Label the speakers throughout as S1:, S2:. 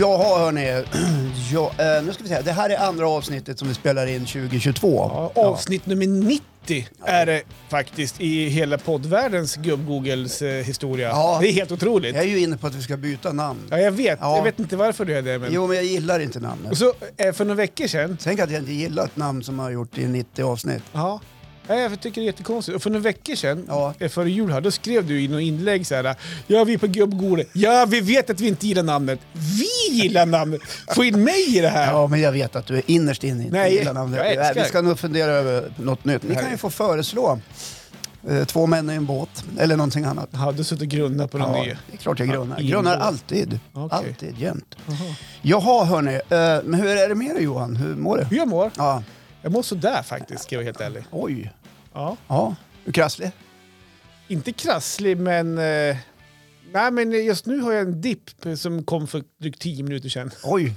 S1: Jaha hörni, ja, eh, nu ska vi se. här. Det här är andra avsnittet som vi spelar in 2022.
S2: Ja, avsnitt nummer 90 är det faktiskt i hela poddvärldens gubb-Googles eh, historia.
S1: Ja.
S2: Det är helt otroligt.
S1: Jag är ju inne på att vi ska byta namn.
S2: Ja, jag vet.
S1: Ja.
S2: Jag vet inte varför du är det. Men...
S1: Jo, men jag gillar inte namnet.
S2: Och så eh, för några veckor sedan.
S1: Tänk att jag inte gillar ett namn som har gjort i 90 avsnitt.
S2: Ja. Ja, Jag tycker det är jättekonstigt. Och för några veckor sedan,
S1: Ja.
S2: eh, före jul här, då skrev du i något inlägg så här. Ja, vi är på gubb-Google. Ja, vi vet att vi inte gillar namnet. Vi gillar namnet! Få in mig i det här!
S1: Ja, men jag vet att du är innerst inne inte
S2: Nej,
S1: gillar namnet.
S2: jag älskar
S1: vi ska nog fundera över något nytt. Ni kan ju få föreslå eh, två män i en båt eller någonting annat.
S2: Ja, du har suttit och grunnat på något
S1: Ja,
S2: nytt.
S1: det är klart jag grunnar.
S2: Ja, i en
S1: grunnar
S2: båt.
S1: alltid.
S2: Okej.
S1: Alltid, jämt. Jaha hörni, eh, men hur är det med dig Johan? Hur mår du?
S2: Hur jag mår?
S1: Ja,
S2: Jag mår sådär faktiskt, ska jag vara helt ärlig.
S1: oj.
S2: Ja.
S1: Ja, du är krasslig.
S2: Inte krasslig, men... Eh, nej, men just nu har jag en dipp som kom för drygt tio minuter sedan.
S1: Oj.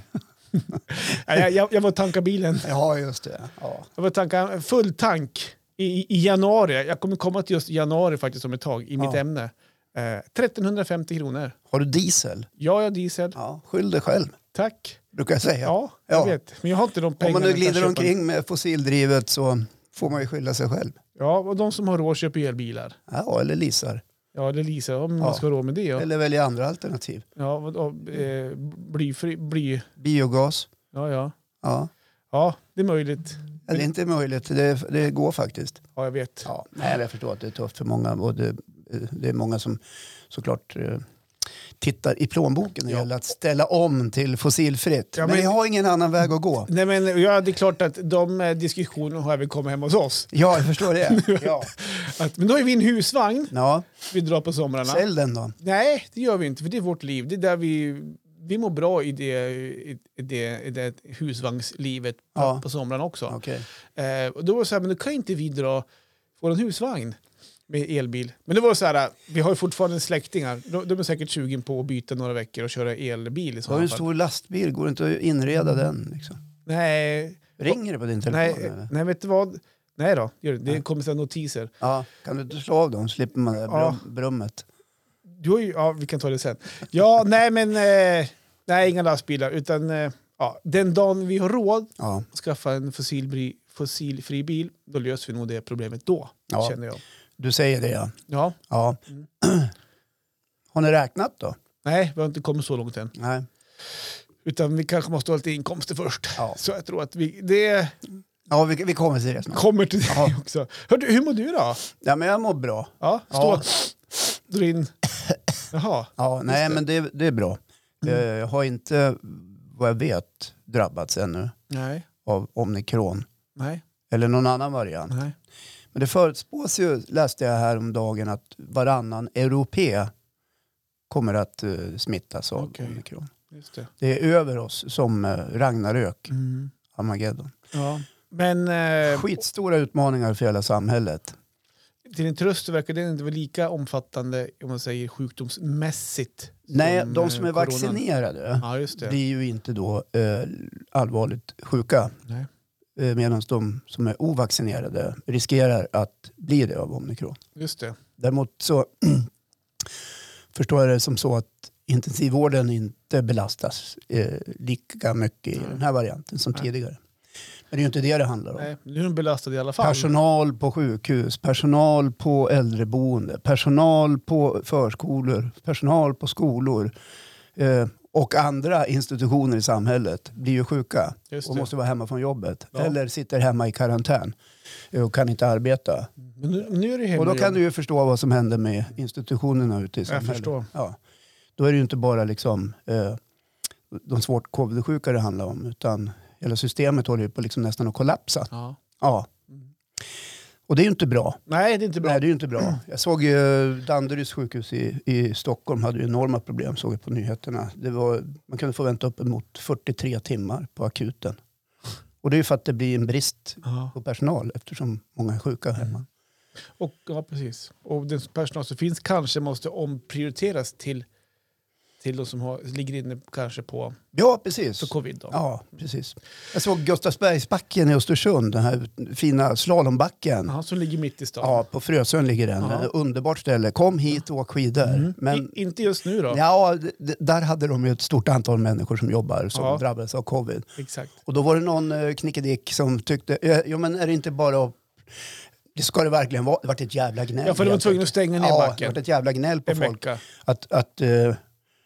S2: Nej, jag, jag, jag var och tankade bilen.
S1: Ja, just det. Ja.
S2: Jag var och tankade en full tank i, i januari. Jag kommer komma till just januari faktiskt om ett tag i mitt
S1: Ja.
S2: ämne. Eh, 1350 kronor.
S1: Har du diesel?
S2: Ja, jag har diesel.
S1: Ja, skyll dig själv,
S2: Tack.
S1: brukar jag säga.
S2: Ja, jag
S1: Ja.
S2: vet. Men jag har inte de
S1: Om
S2: pengarna.
S1: man nu
S2: jag kan
S1: glider
S2: köpa en-
S1: omkring med fossildrivet så får man ju skylla sig själv.
S2: Ja, och de som har råd köper elbilar.
S1: Ja, eller leasar.
S2: Ja, det Lisa, om
S1: Ja.
S2: man ska ha råd med det. Ja,
S1: Eller välja andra alternativ.
S2: ja och, och, eh, blyfri, bly...
S1: Biogas.
S2: Ja, ja.
S1: Ja.
S2: Ja, det är möjligt.
S1: Ja, Det är inte möjligt, det, det går faktiskt.
S2: Ja, jag vet.
S1: Ja. Nej, jag förstår att det är tufft för många. Och det, det är många som såklart eh, tittar i plånboken när det
S2: Ja.
S1: gäller att ställa om till fossilfritt.
S2: Ja,
S1: men,
S2: men-
S1: vi har ingen annan väg att gå.
S2: Nej, men ja, det är klart att de eh, diskussionerna har även kommit hem hos oss.
S1: Ja, jag förstår det. Ja.
S2: Att, men då har vi en husvagn
S1: Ja,
S2: vi drar på somrarna.
S1: sälj den då.
S2: Nej, det gör vi inte, för det är vårt liv. Det är där vi, vi mår bra i det, i det, i det husvagnslivet på,
S1: Ja.
S2: på somrarna också.
S1: Okej.
S2: Eh, och då var det så här, men då kan ju inte vi dra vår husvagn med elbil. Men det var så här, eh, vi har ju fortfarande släktingar. De, de är säkert 20 på att byta några veckor och köra elbil
S1: Du har
S2: i
S1: ju
S2: sådana
S1: en
S2: fall.
S1: stor lastbil, går det inte att inreda den? Liksom?
S2: Nej,
S1: Ringer det på din telefon?
S2: nej,
S1: eller?
S2: nej, vet du vad? Nej då, gör det. det kommer sedan notiser.
S1: Ja, kan du inte slå av dem? slipper man det här brum,
S2: Ja.
S1: brummet.
S2: Du har ju, ja, vi kan ta det sen. Ja, nej men, eh, nej inga lastbilar. Utan eh, ja, den dagen vi har råd
S1: Ja.
S2: att skaffa en fossilfri, fossilfri bil, då löser vi nog det problemet då,
S1: Ja.
S2: känner jag.
S1: Du säger det ja.
S2: Ja,
S1: ja. Har ni räknat då?
S2: nej, vi har inte kommit så långt än.
S1: Nej.
S2: Utan vi kanske måste ha lite inkomster först.
S1: Ja.
S2: Så jag tror att vi, det
S1: Ja, vi, vi kommer till det snart.
S2: kommer till det
S1: Ja.
S2: också. Hör du, hur mår du då?
S1: Ja, men jag mår bra.
S2: Ja, stå
S1: Ja.
S2: dra in. Jaha.
S1: Ja, nej, men det, det är bra. Eh, Jag har inte, vad jag vet, drabbats ännu
S2: Nej,
S1: av omikron.
S2: nej,
S1: Eller någon annan variant.
S2: nej.
S1: Men det förutspås ju, läste jag här om dagen, att varannan europé kommer att eh, smittas av
S2: Okej.
S1: omikron.
S2: Just det.
S1: Det är över oss som eh, Ragnarök,
S2: Mm.
S1: Armageddon.
S2: Ja. Men eh,
S1: Skitstora utmaningar för hela samhället.
S2: till din tröst så verkar det inte vara lika omfattande om man säger sjukdomsmässigt. som,
S1: Nej, de som
S2: eh,
S1: är
S2: coronan.
S1: vaccinerade
S2: Ja, just det.
S1: blir ju inte då eh, allvarligt sjuka.
S2: Nej.
S1: Eh, Medan de som är ovaccinerade riskerar att bli det av omikron.
S2: Just det.
S1: Däremot så förstår jag det som så att intensivvården inte belastas eh, lika mycket i
S2: Nej.
S1: den här varianten som
S2: Nej. Eh,
S1: tidigare. Men det är ju inte det det handlar om.
S2: Nej, nu är de belastade i alla fall.
S1: Personal på sjukhus, personal på äldreboende, personal på förskolor, personal på skolor eh, och andra institutioner i samhället blir ju sjuka
S2: Just
S1: och
S2: det.
S1: måste vara hemma från jobbet.
S2: Ja.
S1: Eller sitter hemma i karantän eh, och kan inte arbeta.
S2: Men nu, nu är det hemma
S1: Och då kan
S2: igen.
S1: du ju förstå vad som händer med institutionerna ute i samhället.
S2: förstår.
S1: Ja. Då är det ju inte bara liksom, eh, de svårt covid-sjuka det handlar om utan hela systemet håller ju på liksom nästan att kollapsa.
S2: Ja.
S1: Ja. Och det är ju inte bra.
S2: Nej, det är inte bra.
S1: Nej,
S2: Mm.
S1: det är ju inte bra. Jag såg ju Danderyds sjukhus i, i Stockholm hade ju enorma problem, såg jag på nyheterna. Det var, man kunde få vänta uppemot 43 timmar på akuten. Och det är ju för att det blir en brist
S2: Ja.
S1: på personal eftersom många är sjuka hemma.
S2: Mm. Och, ja, precis. Och den personal som finns kanske måste omprioriteras till till de som har, ligger inne kanske på
S1: Ja, precis.
S2: för covid. Då.
S1: Ja, precis. Jag såg Gustavsbergsbacken i Östersund, den här fina slalombacken.
S2: Jaha, som ligger mitt i stan.
S1: Ja, på Frösön ligger den.
S2: Ja.
S1: Ett Underbart ställe. Kom hit och åk skidor.
S2: Mm.
S1: Men
S2: I, inte just nu då?
S1: ja, d- d- där hade de ju ett stort antal människor som jobbar som
S2: Ja.
S1: drabbades av covid.
S2: Exakt.
S1: Och då var det någon eh, knickedick som tyckte, eh, ja men är det inte bara att- det ska det verkligen vara. Det vart ett jävla gnäll.
S2: Ja, för de var
S1: helt
S2: tvungna att
S1: enkelt.
S2: stänga ner
S1: Ja, det
S2: backen
S1: vart ett jävla gnäll på
S2: en
S1: folk.
S2: vecka.
S1: Att, att, eh,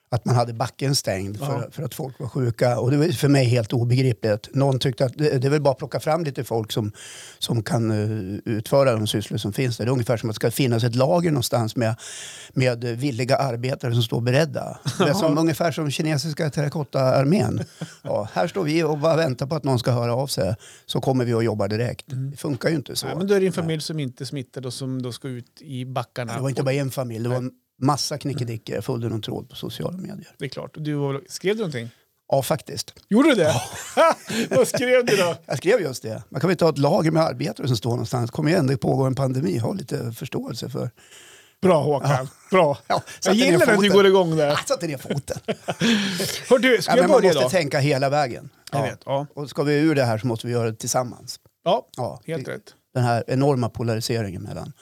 S1: att man hade backen stängd för,
S2: Ja.
S1: för att folk var sjuka. Och det var för mig helt obegripligt. Någon tyckte att det, det är väl bara att plocka fram lite folk som, som kan eh, utföra de sysslor som finns där. Det är ungefär som att det ska finnas ett lager någonstans med, med villiga arbetare som står beredda. Det är som, ungefär som kinesiska terrakottaarmén. Ja, här står vi och bara väntar på att någon ska höra av sig så kommer vi och jobbar direkt. Det funkar ju inte så.
S2: Mm. Nej, men då är det en familj som inte är smittad och som då ska ut i backarna.
S1: Det var inte bara en familj, det var en massa knickedickor. Jag följde någon tråd på sociala medier.
S2: Det är klart. Och Du var, skrev du någonting?
S1: Ja, faktiskt.
S2: Gjorde du det? Vad skrev du då?
S1: Jag skrev just det. Man kan väl inte ha ett lager med arbetare som står någonstans. Kom igen, det pågår en pandemi. Ha lite förståelse för...
S2: Bra Håkan, bra.
S1: Ja,
S2: Jag
S1: satte ner
S2: gillar att du
S1: foten.
S2: går igång där.
S1: Jag satte ner foten.
S2: Hör du, ska
S1: Ja, men
S2: jag
S1: man
S2: börja
S1: måste
S2: då?
S1: tänka hela vägen.
S2: Jag
S1: Ja.
S2: vet, ja.
S1: Och ska vi ur det här så måste vi göra det tillsammans.
S2: ja,
S1: Ja,
S2: helt
S1: det-
S2: rätt.
S1: Den här enorma polariseringen mellan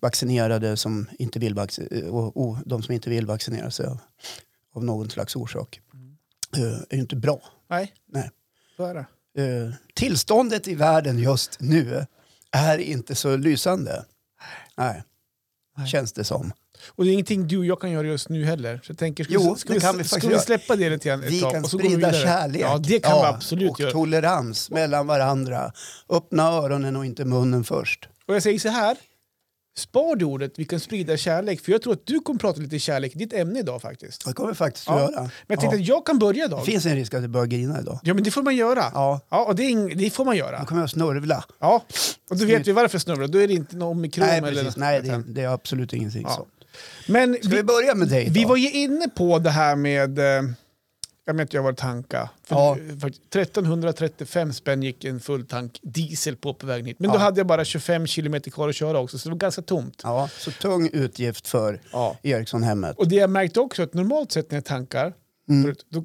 S1: vaccinerade som inte vill vaccin- och, och de som inte vill vaccinera sig av, av någon slags orsak.
S2: Mm.
S1: Eh, är ju inte bra.
S2: Nej,
S1: Nej.
S2: så är det.
S1: Eh, tillståndet i världen just nu är inte så lysande. Nej,
S2: Nej.
S1: känns det som.
S2: Och det är ingenting du och jag kan göra just nu heller. Så jag tänker, ska,
S1: Jo,
S2: vi, ska,
S1: det
S2: vi,
S1: kan vi
S2: ska
S1: faktiskt
S2: vi
S1: göra.
S2: släppa det lite grann ett
S1: Vi
S2: tag
S1: kan
S2: och så går vi
S1: sprida
S2: vidare?
S1: kärlek
S2: Ja, det kan vi absolut
S1: och
S2: göra.
S1: tolerans mellan varandra. Öppna öronen och inte munnen först.
S2: Och jag säger så här, spar det ordet vi kan sprida kärlek, för jag tror att du kommer prata lite kärlek i ditt ämne idag faktiskt.
S1: Det kommer vi faktiskt
S2: Ja.
S1: att göra.
S2: Men jag tänkte
S1: ja.
S2: att jag kan börja idag.
S1: Det finns en risk att du börjar grina idag.
S2: Ja, men det får man göra. Ja,
S1: Ja,
S2: och det, är ing- det får man
S1: då
S2: göra.
S1: kommer jag att snörvla.
S2: Ja, och du vet ju varför jag snurrar. Då är det inte någon omikron
S1: Nej,
S2: eller
S1: precis.
S2: något
S1: Nej, det, är-
S2: sånt.
S1: det är absolut ingenting
S2: Ja.
S1: sånt.
S2: Men
S1: Ska vi,
S2: vi,
S1: börja med dig
S2: vi
S1: idag?
S2: var ju inne på det här med... eh, Jag vet inte, jag var tanka. För,
S1: Ja.
S2: för 1335 spänn gick en full tank diesel på på vägen hit. Men då
S1: Ja.
S2: hade jag bara 25 kilometer kvar att köra också, så det var ganska tomt.
S1: Ja, så tung utgift för
S2: Ja.
S1: Erikssonhemmet.
S2: Och det jag märkte också att normalt sett när jag tankar,
S1: Mm.
S2: förut, då,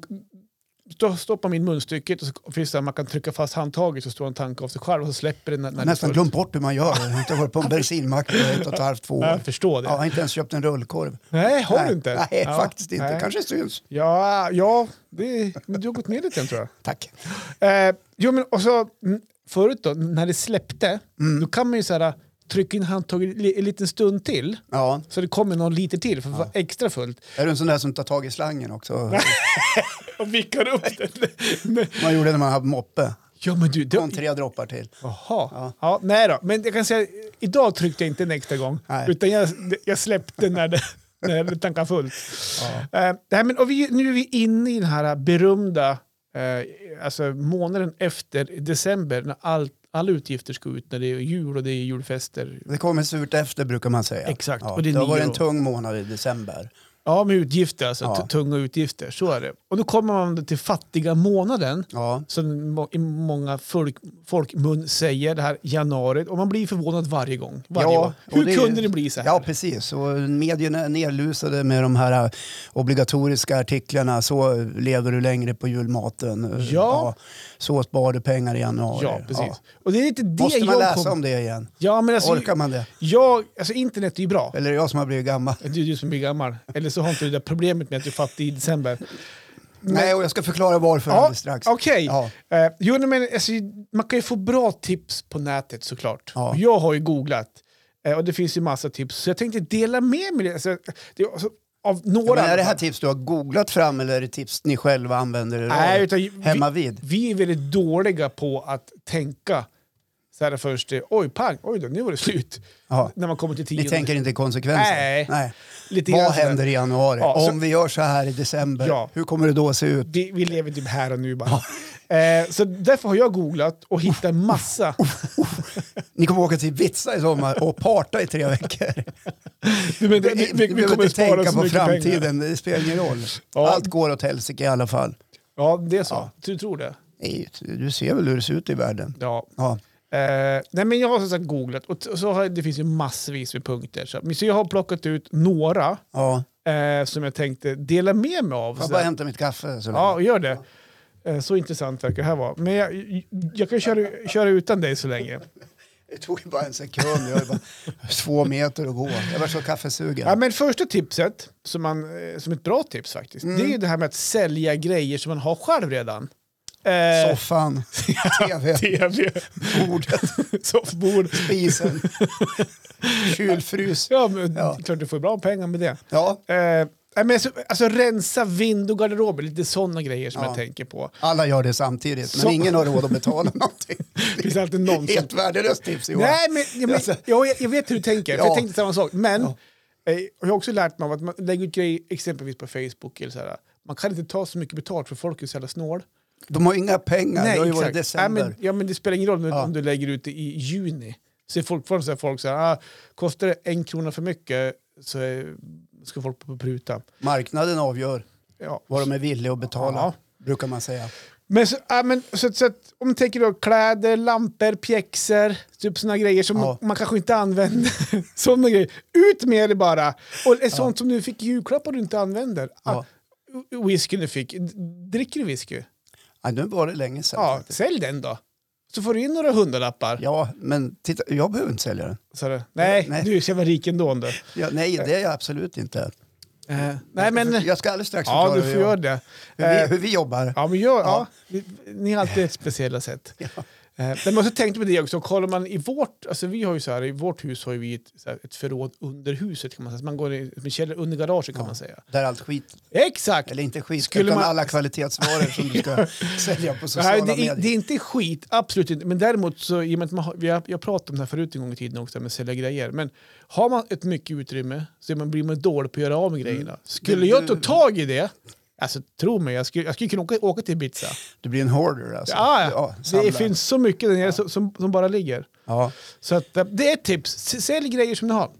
S2: då stoppar min munstycket och så finns det där man kan trycka fast handtaget så står en tank av sig själv och så släpper den när,
S1: Jag
S2: när det
S1: har
S2: är
S1: nästan
S2: fullt.
S1: glömt bort hur man gör. Jag har inte varit på en bensinmack på ett och ett halvt, två
S2: Ja,
S1: år.
S2: Jag förstår det.
S1: Ja, jag har inte ens köpt en rullkorv.
S2: Nej, har
S1: nej,
S2: du inte?
S1: Nej,
S2: Ja,
S1: faktiskt inte.
S2: nej.
S1: Kanske syns.
S2: Ja, ja det, men du har gått ner lite grann tror jag.
S1: Tack.
S2: Eh, jo, men och så, mm, förut då, när det släppte, då kan man ju så här, trycka in handtaget li- en liten stund till
S1: Ja.
S2: så det kommer någon liter till för att vara extra fullt.
S1: Är du en sån där som tar tag i slangen också?
S2: Och vickar upp den. Men,
S1: Man gjorde när man hade moppe.
S2: ja, men du, det,
S1: Kom tre droppar till.
S2: Jaha. Ja. nej då. Men jag kan säga, idag tryckte jag inte en extra gång.
S1: Nej.
S2: Utan jag, jag släppte när det, när det tankade fullt. Eh, nej, men, och vi, nu är vi inne i den här berömda eh, alltså månaden efter december när all, alla utgifter ska ut när det är jul och det är julfester.
S1: Det kommer surt efter brukar man säga.
S2: Exakt,
S1: Ja,
S2: och det
S1: det
S2: är
S1: har varit
S2: nyår.
S1: en tung månad i december.
S2: Ja, med utgifter alltså.
S1: Ja.
S2: t- Tunga utgifter, så är det. Och då kommer man till fattiga månaden.
S1: Ja.
S2: som må- i många folk, folkmun säger, det här januari. Och man blir förvånad varje gång. Varje
S1: Ja,
S2: år.
S1: och
S2: Hur
S1: det-
S2: kunde det bli så här?
S1: Ja, precis. Och medierna är nerlusade med de här eh, obligatoriska artiklarna. Så lever du längre på julmaten. Eh,
S2: Ja.
S1: Så sparar du pengar i januari.
S2: Ja, precis. Och det är lite det
S1: Måste man
S2: jag
S1: läsa
S2: kom-
S1: om det igen?
S2: Ja, men alltså,
S1: Orkar man det?
S2: jag, alltså internet är ju bra.
S1: Eller är det jag som har blivit gammal?
S2: Det är du som blir gammal. Eller så har inte du det där problemet med att du är fattig i december.
S1: Nej, och jag ska förklara varför
S2: Ja,
S1: alldeles strax.
S2: Okej.
S1: Ja.
S2: Eh, jo, nej, men alltså, man kan ju få bra tips på nätet såklart.
S1: Ja.
S2: Och Jag har ju googlat eh, och det finns ju massa tips. Så jag tänkte dela med mig alltså, det, alltså, av några.
S1: Men är det
S2: i alla
S1: här
S2: fall.
S1: tips du har googlat fram eller är det tips ni själva använder er
S2: Nej,
S1: av
S2: utan ju-
S1: hemma
S2: vi,
S1: vid?
S2: vi är väldigt dåliga på att tänka så här först, eh, oj pang, oj då, nu var det slut.
S1: Ja.
S2: När man kommer till
S1: Ni
S2: tionde.
S1: tänker inte i konsekvenser?
S2: Nej. lite
S1: Vad
S2: grann så där.
S1: händer i januari?
S2: Ja, så-
S1: Om vi gör så här i december,
S2: Ja.
S1: hur kommer det då se ut?
S2: Vi, vi lever typ här och nu bara. Eh, så därför har jag googlat och hittat massa.
S1: Ni kommer åka till Ibiza i sommar och parta i tre veckor.
S2: Du, men,
S1: Ni-
S2: vi,
S1: ni
S2: vi, vi
S1: behöver
S2: kommer
S1: inte
S2: spara
S1: tänka
S2: så
S1: på
S2: mycket
S1: framtiden,
S2: pengar.
S1: det spelar ingen roll.
S2: Ja.
S1: Allt går åt helsike i alla fall.
S2: Ja, det är så.
S1: Ja.
S2: Du tror det?
S1: Nej, Du ser väl hur det ser ut i världen?
S2: Ja.
S1: Ja.
S2: Eh, nej, men jag har som sagt googlat och t- så har, det finns ju massvis med punkter. Så, men så jag har plockat ut några
S1: Ja.
S2: eh, som jag tänkte dela med mig av.
S1: Får jag
S2: Så
S1: bara
S2: där.
S1: hämta mitt kaffe? Så
S2: Ja,
S1: ja.
S2: gör det. Eh, Så intressant verkar det här vara. Men jag, jag kan köra, köra utan dig så länge.
S1: Det tog ju bara en sekund. Jag var bara två meter att gå. Jag var så kaffesugen.
S2: Ja, men första tipset, som, man, eh, som ett bra tips faktiskt, det är
S1: Mm.
S2: ju det här med att sälja grejer som man har själv redan. Eh,
S1: Soffan, tv,
S2: TV,
S1: bordet,
S2: soffbord.
S1: spisen, kylfrys.
S2: Ja, men
S1: Ja.
S2: klart du får bra pengar med det.
S1: Ja,
S2: Eh, nej, men alltså, alltså rensa vind och garderober, lite sådana grejer som
S1: Ja.
S2: jag tänker på.
S1: alla gör det samtidigt, men
S2: Så-
S1: ingen har råd att betala någonting.
S2: Det finns alltid någon som...
S1: Helt värdelöst tips Johan.
S2: Nej, men, jag, men,
S1: Alltså-
S2: jag, jag vet hur du tänker, för
S1: Ja.
S2: jag tänkte samma sak. Men
S1: Ja.
S2: eh, jag har också lärt mig av att man lägger ut grejer exempelvis på Facebook. Eller så här, man kan inte ta så mycket betalt för folk är så jävla snål.
S1: De har inga pengar, det har ju varit december.
S2: Nej, men, ja, men det spelar ingen roll nu,
S1: Ja.
S2: om du lägger ut det i juni. Så är folk fortfarande så här, folk så här, ah, kostar det en krona för mycket så är, ska folk på pruta.
S1: Marknaden avgör
S2: Ja.
S1: vad de är villiga att betala,
S2: Ja.
S1: brukar man säga.
S2: Men, så, ja, men så, så att, om du tänker då kläder, lampor, pjäxor, typ sådana grejer som
S1: Ja.
S2: man, man kanske inte använder. sådana grejer. Ut med det bara! Och är sånt som du fick i julklapp och du inte använder.
S1: Ja.
S2: Ah, whisky du fick, D- dricker du whisky?
S1: Ja, nu var det länge sedan.
S2: Ja, sälj den då. Så får du in några hundralappar.
S1: Ja, men titta, jag behöver inte sälja den.
S2: Så, det- nej,
S1: Nej.
S2: du är så jävla rik ändå. Ändå.
S1: Ja, nej, det är jag absolut inte.
S2: Eh, nej, Eh. men...
S1: Jag ska alldeles strax
S2: Ja,
S1: förklara
S2: du
S1: hur,
S2: får göra
S1: jag,
S2: det.
S1: hur, vi,
S2: Eh,
S1: hur vi jobbar.
S2: Ja, men gör, ja.
S1: Ja.
S2: ni- Ni har alltid ett speciella sätt.
S1: Ja.
S2: Eh, Men man så tänkte på det också, kollar man i vårt, alltså vi har ju så här, i vårt hus har ju vi ett, så här, ett förråd under huset kan man säga, Så man går i, med källor under garaget kan man säga.
S1: Där allt skit,
S2: Exakt!
S1: eller inte skit,
S2: Skulle
S1: utan
S2: man-
S1: alla kvalitetsvaror som du ska sälja på sociala
S2: Nej, det, är,
S1: medier.
S2: det är inte skit, absolut inte. Men däremot så, i och med att man har, vi har, jag pratade om det här förut en gång i tiden också, med att sälja grejer. Men har man ett mycket utrymme så är man, blir man dålig på att göra av med
S1: Mm.
S2: grejerna. Skulle
S1: Du-
S2: jag ta
S1: du-
S2: tag i det, alltså tro mig, jag skulle, jag skulle kunna åka, åka till Ibiza.
S1: Du blir en hoarder alltså.
S2: Ja, det
S1: samlar.
S2: finns så mycket där nere som, som, som bara ligger.
S1: Ja.
S2: Så att, eh, det är ett tips. S- Sälj grejer som ni har.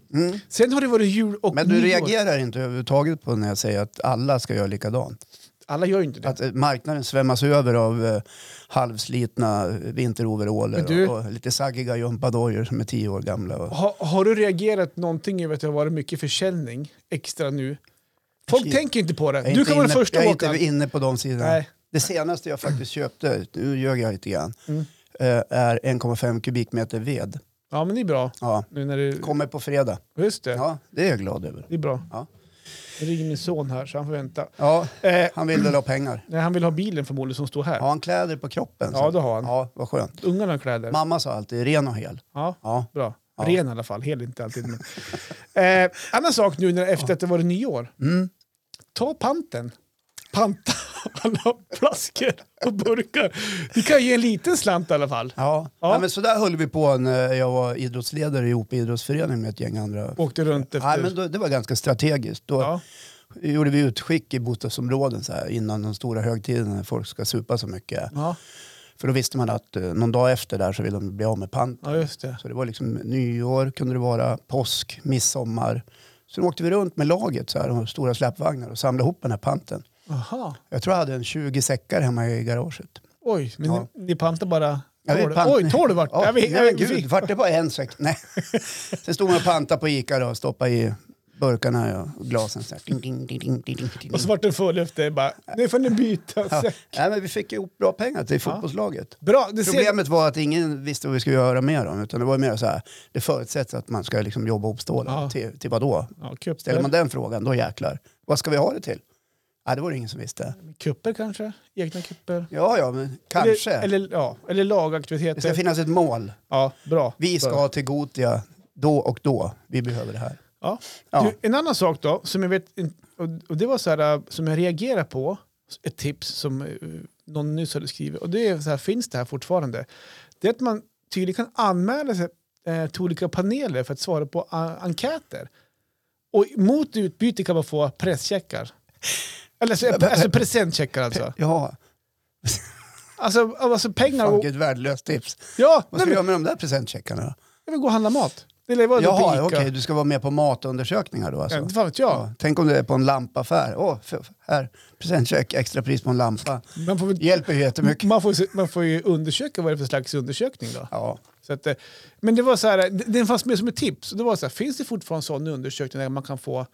S2: Sen har det varit jul och
S1: Mm. Men du
S2: nyår.
S1: reagerar inte överhuvudtaget på när jag säger att alla ska göra likadant.
S2: Alla gör ju inte det.
S1: Att eh, marknaden svämmas över av eh, halvslitna vinteroveraller
S2: Men du-
S1: och, och lite saggiga gympadojor som är tio år gamla. Och,
S2: Ha, har du reagerat någonting över att det har varit mycket försäljning extra nu? Folk
S1: Jag-
S2: tänker inte på det.
S1: jag är
S2: Du
S1: inte
S2: kan vara
S1: inne-
S2: den första
S1: Jag är
S2: åkaren.
S1: inte inne på de sidorna.
S2: Nej.
S1: Det senaste jag faktiskt köpte, nu ljög jag lite grann,
S2: Mm.
S1: eh, är 1,5 kubikmeter ved.
S2: Ja, men det är bra.
S1: Ja,
S2: Nu när du...
S1: kommer på fredag.
S2: Just det.
S1: Ja, det är jag glad över.
S2: Det är bra.
S1: Ja.
S2: Nu ringer min son här så han får vänta.
S1: Ja,
S2: Eh,
S1: han vill väl ha pengar.
S2: nej, han vill ha bilen förmodligen som står här.
S1: Har han kläder på kroppen?
S2: Ja, det har han.
S1: Ja, vad skönt.
S2: Ungarna har kläder.
S1: Mamma sa alltid ren och hel.
S2: Ja,
S1: Ja,
S2: bra.
S1: Ja.
S2: Ren i alla fall, hel inte alltid. Men. Eh, annan sak nu när, efter att det varit nyår.
S1: Mm.
S2: Ta panten. Panta alla flaskor och burkar. Du kan ge en liten slant i alla fall.
S1: ja.
S2: Ja.
S1: ja men så där höll vi på när jag var idrottsledare i Ope idrottsförening med ett gäng andra.
S2: Åkte runt efter...
S1: Nej, men då, det var ganska strategiskt. Då
S2: ja.
S1: gjorde vi utskick i bostadsområden så här, innan de stora högtiderna när folk ska supa så mycket.
S2: Ja.
S1: För då visste man att eh, någon dag efter där så vill de bli av med pant.
S2: ja, just det.
S1: Så det var liksom nyår, kunde det vara påsk, midsommar. Så då åkte vi runt med laget så här, de stora släpvagnar och samlade ihop den här panten.
S2: Aha.
S1: Jag tror jag hade en 20 säckar hemma i garaget.
S2: Oj, men
S1: Ja.
S2: ni, ni pantar bara...
S1: Jag vet,
S2: tolv.
S1: pant-
S2: Oj, tolv vart det.
S1: Ja,
S2: Jag vet- jag
S1: nej,
S2: vet-
S1: men gud, vart det bara en säck? Nej. Sen stod man och pantade på Ica då, och stoppade i burkarna och glasen. Så här. Ding, ding, ding, ding, ding, ding, ding.
S2: Och så vart den full efter. Bara, nu får ni byta.
S1: Ja.
S2: säck.
S1: Nej, men vi fick ihop bra pengar till fotbollslaget.
S2: Bra, det ser...
S1: Problemet var att ingen visste vad vi skulle göra med dem. Utan det var mer så här, det förutsätts att man ska liksom jobba ihop stålar.
S2: Ja.
S1: Till, till vad då?
S2: Ja,
S1: Ställer
S2: kupper.
S1: man den frågan, då jäklar. Vad ska vi ha det till? Ja, det var det ingen som visste.
S2: kupper kanske? Egna kupper?
S1: Ja, ja, men kanske.
S2: Eller, eller, ja, eller
S1: det ska
S2: lagaktiviteter.
S1: finnas ett mål.
S2: Ja, bra.
S1: Vi ska till Gotia då och då. Vi behöver det här.
S2: Ja.
S1: Ja.
S2: Du, en annan sak då, som jag vet, och- och det var så här, äh, som jag reagerar på, ett tips som äh, någon nyss hade skrivit, och det är så här, finns det här fortfarande? Det är att man tydligen kan anmäla sig eh, till olika paneler för att svara på äh, enkäter. Och mot utbyte kan man få presscheckar. Eller alltså, alltså presentcheckar alltså.
S1: Ja,
S2: Alltså, alltså pengar
S1: fan
S2: och...
S1: vilket värdelöst tips.
S2: Ja,
S1: Vad
S2: nej,
S1: ska vi
S2: men,
S1: göra med de där presenttcheckarna då?
S2: jag vill gå och handla mat. Eller vad det på
S1: Jaha,
S2: Ica.
S1: okej, du ska vara med på matundersökningar då alltså?
S2: Inte fan vet jag.
S1: Ja, Tänk om du är på en lampaffär. Åh, f- här, presentcheck, extra pris på en lampa.
S2: Man får väl
S1: Hjälper ju jättemycket.
S2: Man får, ju- man får ju undersöka vad det är för slags undersökning. Då.
S1: Ja.
S2: Så att, eh, men det var så här, d- den fanns med som ett tips. Det var så här, finns det fortfarande sån undersökning där man kan få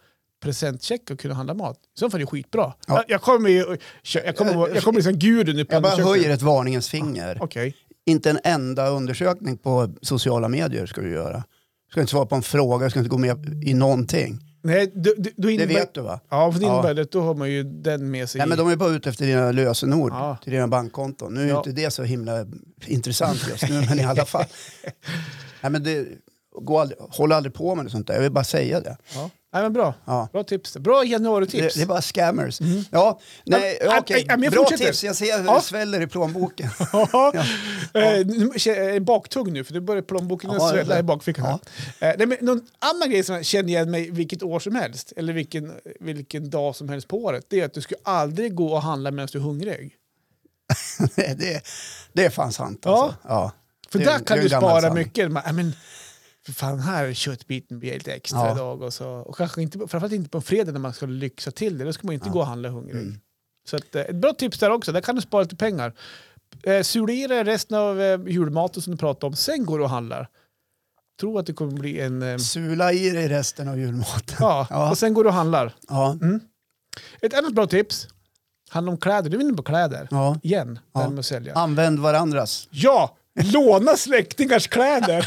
S2: presentcheck och kunna handla mat. I så fall är det skitbra.
S1: Ja.
S2: Jag, jag kommer ju jag kommer, vara- jag kommer liksom bli som guden nu på
S1: Jag bara
S2: undersökningen.
S1: höjer ett varningens finger.
S2: Okej.
S1: Inte en enda undersökning på sociala medier ska du göra. Du ska inte svara på en fråga, du ska inte gå med i någonting.
S2: Nej, du, du, du
S1: Det
S2: innebär,
S1: vet du va?
S2: Ja, för det
S1: Ja.
S2: innebär det, då har man ju den med sig.
S1: Nej, men de är bara ute efter dina lösenord
S2: Ja.
S1: till dina bankkonton. Nu är ju
S2: Ja.
S1: inte det så himla intressant just nu, men i alla fall. Nej, men det, gå aldrig, håll aldrig på med det sånt där, jag vill bara säga det.
S2: ja. Nej, men bra.
S1: Ja.
S2: Bra tips. Bra januari-tips.
S1: Det, det är bara scammers. Ja, nej,
S2: Ja, men-
S1: okej.
S2: ja, men jag
S1: Bra
S2: fortsätter.
S1: tips, jag ser hur
S2: Ja.
S1: det sväller i plånboken.
S2: Ja. Eh, nu- Jag är baktung nu, för nu börjar plånboken
S1: Ja,
S2: svälla
S1: det-
S2: i bakfickan. här. Eh, nej, men någon annan grej som jag känner igen mig vilket år som helst, eller vilken, vilken dag som helst på året, det är att du ska aldrig gå och handla medan du är hungrig.
S1: det, det är fan sant
S2: Ja. Mm.
S1: alltså. Ja.
S2: För
S1: Det är
S2: där
S1: en-
S2: kan
S1: det är
S2: du
S1: en gammal
S2: spara
S1: sanning.
S2: mycket. Man, "Nej, men, för fan, här är köttbiten blir lite extra
S1: Ja.
S2: idag. Och, så. och kanske inte, på- framförallt inte på en fredag när man ska lyxa till det. Då ska man inte gå och handla hungrig.
S1: Mm.
S2: Så att, eh, ett bra tips där också. Där kan du spara lite pengar. Eh, Sula i dig resten av eh, julmaten som du pratade om. Sen går du och handlar. Tror att det kommer bli en... Eh,
S1: Sula i dig resten av julmaten.
S2: ja, Mm.
S1: Ja.
S2: och sen går du och handlar.
S1: Ja.
S2: Ett annat bra tips handlar om kläder. Du är inne på kläder.
S1: Ja.
S2: Igen, det här
S1: Ja.
S2: med att sälja.
S1: Använd varandras.
S2: Ja, låna släktingars kläder.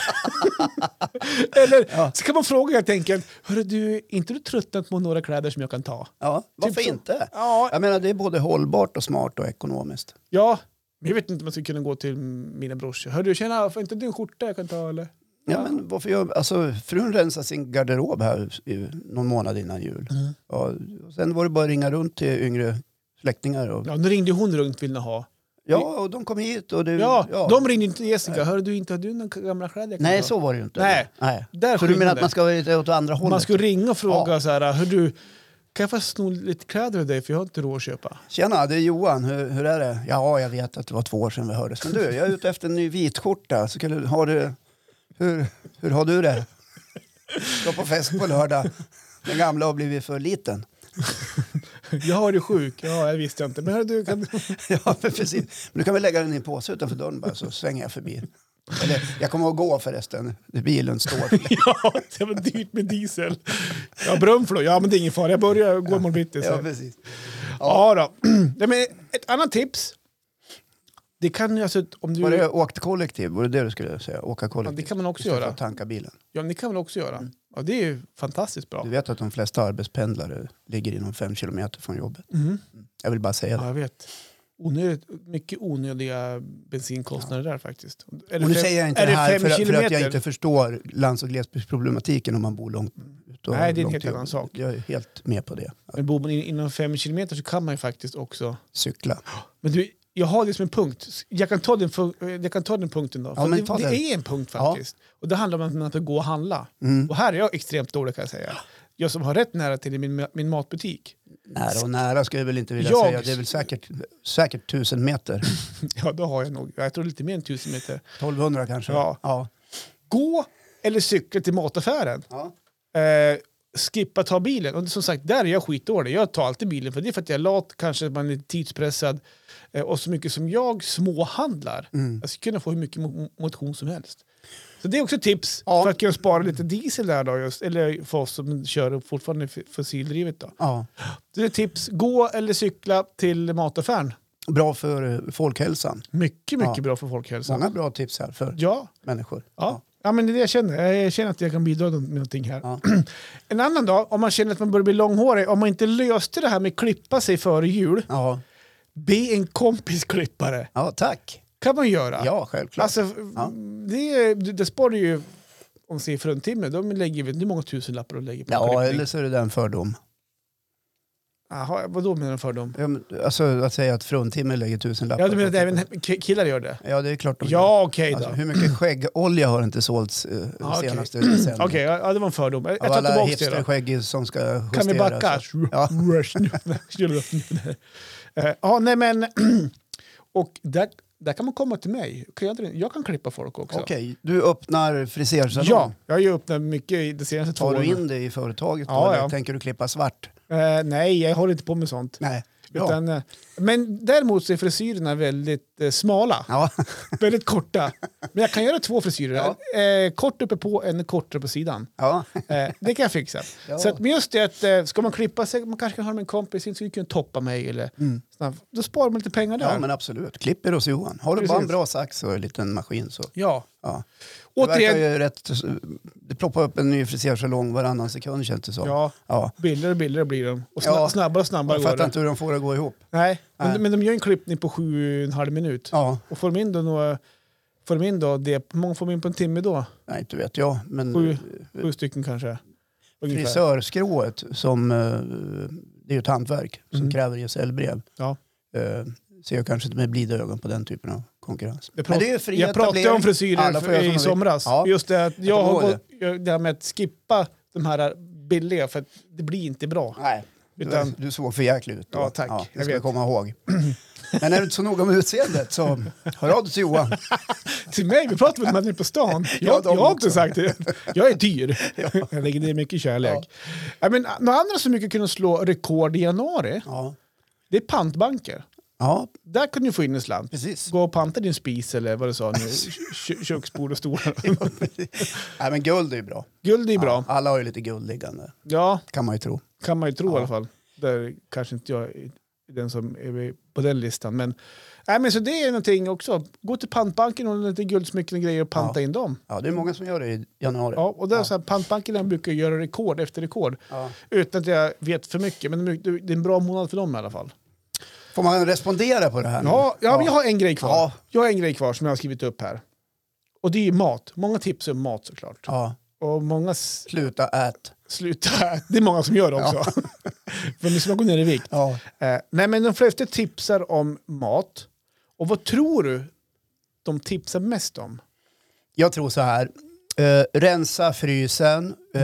S2: Eller
S1: Ja.
S2: så kan man fråga helt enkelt, hörru du, är inte du tröttnat på några kläder som jag kan ta?
S1: Ja, varför
S2: så.
S1: inte?
S2: Ja,
S1: Jag menar, det är både hållbart och smart och ekonomiskt.
S2: ja. Men jag vet inte om jag skulle kunna gå till mina brorsor. Hörru du, tjena, får inte du en skjorta jag kan ta eller?
S1: Ja, men varför gör, alltså, frun rensade sin garderob här i, någon månad innan jul.
S2: Mm.
S1: Ja, och sen var det bara att ringa runt till yngre släktingar. Och,
S2: Ja, nu ringde hon runt ville ha.
S1: ja, och de kom hit och det...
S2: Ja, de ringde inte till Jessica. Hörru du, inte har du några gamla kläder jag kan
S1: Nej,
S2: ta?
S1: så var det ju inte.
S2: Nej.
S1: Nej.
S2: Där
S1: Så du menar
S2: skillnaden.
S1: att man ska vara lite åt andra hållet?
S2: Man skulle ringa och fråga så här, hörru du, kan jag få sno lite kläder av dig för jag har inte råd att köpa?
S1: Tjena, det är Johan. Hur, hur är det? Ja, jag vet att det var två år sedan vi hördes. Men du, jag är ute efter en ny vitskjorta. Så kan du, har du, hur, hur har du det? Ska på fest på lördag. Den gamla har blivit för liten.
S2: Jag har det sjuk. Ja, jag visste inte. Men hörru du, kan du...
S1: Ja, men precis. Men du kan väl lägga den i en påse utanför dörren bara så svänger jag förbi. Eller jag kommer att gå förresten, bilen står.
S2: Ja, det var dyrt med diesel. Ja, Brunflo, ja men det är ingen fara, jag börjar gå imorgon bitti.
S1: Ja,
S2: Ja,
S1: precis.
S2: ja då. Nej, men ett annat tips. Det kan ju alltså, om du...
S1: Var det åkt kollektiv? Var det det du skulle säga? Åka
S2: Ja,
S1: kollektiv?
S2: det kan man också
S1: Istället för
S2: göra.
S1: att tanka bilen.
S2: Ja, men det kan man också göra. Ja, det är ju fantastiskt bra.
S1: Mm. Du vet att de flesta arbetspendlare ligger inom fem kilometer från jobbet.
S2: Mm.
S1: Jag vill bara säga det.
S2: Ja, jag vet. Onödigt, mycket onödiga bensinkostnader där faktiskt. Är det
S1: Och nu
S2: fem-
S1: säger jag inte
S2: är
S1: det här
S2: fem
S1: för, att- för att jag
S2: kilometer?
S1: inte förstår lands och glesbygdsproblematiken om man bor långt ut. och
S2: Nej, det är en
S1: långt
S2: helt
S1: ut.
S2: annan sak.
S1: Jag är helt med på det. Att
S2: Men bor man in- inom fem kilometer så kan man ju faktiskt också...
S1: cykla.
S2: Men du, jag har det som en punkt. Jag kan ta den, fun- eh, jag kan ta den punkten då.
S1: Ja,
S2: För
S1: men
S2: det
S1: ta
S2: det
S1: den.
S2: är en punkt
S1: Ja.
S2: faktiskt. Och det handlar om att man får gå och handla.
S1: Mm.
S2: Och här är jag extremt dålig kan jag säga. Jag som har rätt nära till min, min matbutik.
S1: Nära och nära ska jag väl inte vilja
S2: Jag-
S1: säga. Det är väl säkert, säkert tusen meter.
S2: Ja, då har jag nog, jag tror lite mer än tusen meter.
S1: 1200 kanske?
S2: Ja.
S1: ja.
S2: Gå eller cykla till mataffären.
S1: Ja.
S2: Eh, skippa ta bilen. Och som sagt, där är jag skitdålig. Jag tar alltid bilen för det är för att jag är lat, kanske man är lite tidspressad. Eh, och så mycket som jag småhandlar,
S1: Mm.
S2: jag skulle kunna få hur mycket mo- motion som helst. Så det är också tips
S1: Ja.
S2: för att kunna spara lite diesel där då, just, eller för oss som kör fortfarande f- fossildrivet. Då.
S1: ja.
S2: Så det är tips, gå eller cykla till mataffären.
S1: Bra för eh, folkhälsan.
S2: Mycket, mycket
S1: Ja.
S2: bra för folkhälsan.
S1: Många bra tips här för
S2: Ja,
S1: människor.
S2: Ja. ja, men det är det jag känner. Jag känner att jag kan bidra med någonting här.
S1: Ja.
S2: En annan dag, om man känner att man börjar bli långhårig, om man inte löste det här med klippa sig före jul,
S1: Ja,
S2: be en kompis klippa det.
S1: ja tack.
S2: kan man göra.
S1: Ja, självklart.
S2: Alltså, det, det sparar ju, om ser fruntimmer, de lägger väl hur många tusenlappar de lägger på
S1: ja,
S2: klippning.
S1: eller så är det där en fördom.
S2: Jaha, vadå menar du fördom?
S1: Ja, men, Alltså att säga att fruntimmer lägger tusenlappar.
S2: Ja, du menar att
S1: på-
S2: även ki- killar gör det?
S1: Ja, det är klart de gör.
S2: Ja, okej
S1: Alltså,
S2: då.
S1: hur mycket skäggolja har inte sålts eh, de
S2: Ja, okej.
S1: senaste decennierna?
S2: Okej, ja, det var en fördom. Jag
S1: Av
S2: tar
S1: alla
S2: tillbaka det då.
S1: hipsterskägg som ska justeras.
S2: Kan vi backa?
S1: Ja.
S2: alltså. Rush nu. Skulle upp. Eh, Ja, nej men... Och där, där kan man komma till mig. Kan Jag, jag kan klippa folk också.
S1: Okej, du öppnar frisersalong.
S2: Ja, jag har ju öppnat mycket i de senaste två
S1: Tar
S2: åren.
S1: du in det i företaget då?
S2: Ja,
S1: eller
S2: ja.
S1: tänker du klippa svart?
S2: Eh, nej, jag håller inte på med sånt.
S1: Nej. Ja.
S2: Utan, eh, men däremot så är frisyrerna väldigt eh, smala,
S1: Ja,
S2: väldigt korta. Men jag kan göra två frisyrer. Eh, kort uppe på en kortare på sidan.
S1: ja.
S2: Eh, det kan jag fixa.
S1: Ja.
S2: Så att, men just det att eh, ska man klippa sig, man kanske kan ha med en kompis, inte så du kan toppa mig eller
S1: Mm.
S2: snabb. Då sparar man lite pengar där.
S1: ja, men absolut. Klipper hos Johan. Har du bara en
S2: Precis.
S1: bra sax och en liten maskin så.
S2: Ja.
S1: Ja. Det, verkar
S2: Återigen,
S1: ju rätt, det ploppar upp en ny frisersalong varannan sekund känns det som.
S2: ja,
S1: Ja.
S2: billigare och billigare blir de. Och sna-
S1: Ja.
S2: snabbare och snabbare
S1: Jag
S2: går
S1: fattar
S2: det.
S1: inte hur de får det att gå ihop.
S2: Nej.
S1: Nej.
S2: Men, men de gör en klippning på sju och en halv minut.
S1: Ja,
S2: Och får de in då, några, får de in då det, hur många får de in på en timme då?
S1: nej, inte vet jag. Men
S2: Sju, sju stycken kanske. Ungefär.
S1: frisörskrået, som, eh, det är ju ett hantverk som
S2: Mm.
S1: kräver gesällbrev.
S2: Ja.
S1: Eh, Ser jag kanske inte med blida ögon på den typen av konkurrens.
S2: Jag
S1: men
S2: prat-
S1: det är ju fri
S2: Jag pratade om
S1: etablering. Alla
S2: frisyrer
S1: får göra som de
S2: för, i
S1: vill.
S2: somras.
S1: Ja.
S2: Just det att jag har
S1: kommer
S2: gått, jag- det här med att skippa de här billiga för att det blir inte bra.
S1: Nej,
S2: Utan-
S1: du, du såg för jäklig ut. då.
S2: Ja, tack.
S1: Ja, det
S2: Jag
S1: ska jag
S2: vet.
S1: komma ihåg. Men är du inte så noga med utseendet så hör av dig till Johan.
S2: Till mig, vi pratar väl om att ni är på stan.
S1: Ja,
S2: Jag,
S1: de
S2: jag har inte
S1: också.
S2: sagt det. Jag är dyr. Jag lägger ner mycket kärlek. Ja. Men, några andra som mycket kunde slå rekord i januari,
S1: Ja,
S2: det är pantbanker.
S1: ja
S2: Där kunde du få in en slant.
S1: precis.
S2: Gå och panta din spis eller vad du sa nu, kö- köksbord och stolar.
S1: Nej, men guld är ju bra.
S2: Guld är ju bra.
S1: Ja, alla har ju lite guld liggande,
S2: Ja,
S1: kan man ju tro.
S2: kan man ju tro
S1: Ja.
S2: i alla fall. Där kanske inte jag är den som är på den listan. Men, nej, men så det är någonting också. Gå till pantbanken och lite guldsmycken och grejer och panta in dem.
S1: Ja, det är många som gör det i januari.
S2: Ja, och det är så här, pantbankerna brukar göra rekord efter rekord.
S1: Ja.
S2: Utan att jag vet för mycket, men det är en bra månad för dem i alla fall.
S1: Får man respondera på det här? nu?
S2: Ja, ja, men jag har en grej kvar.
S1: Mm. Ja.
S2: Jag har en grej kvar som jag har skrivit upp här. Och det är ju mat. Många tips om mat såklart.
S1: ja.
S2: Och många s-
S1: Sluta ät.
S2: sluta... Det är många som gör det också. för nu ska man gå ner i vikt.
S1: Ja.
S2: Eh, nej, men de flesta tipsar om mat. Och vad tror du de tipsar mest om?
S1: Jag tror så här. Eh, rensa frysen. Eh,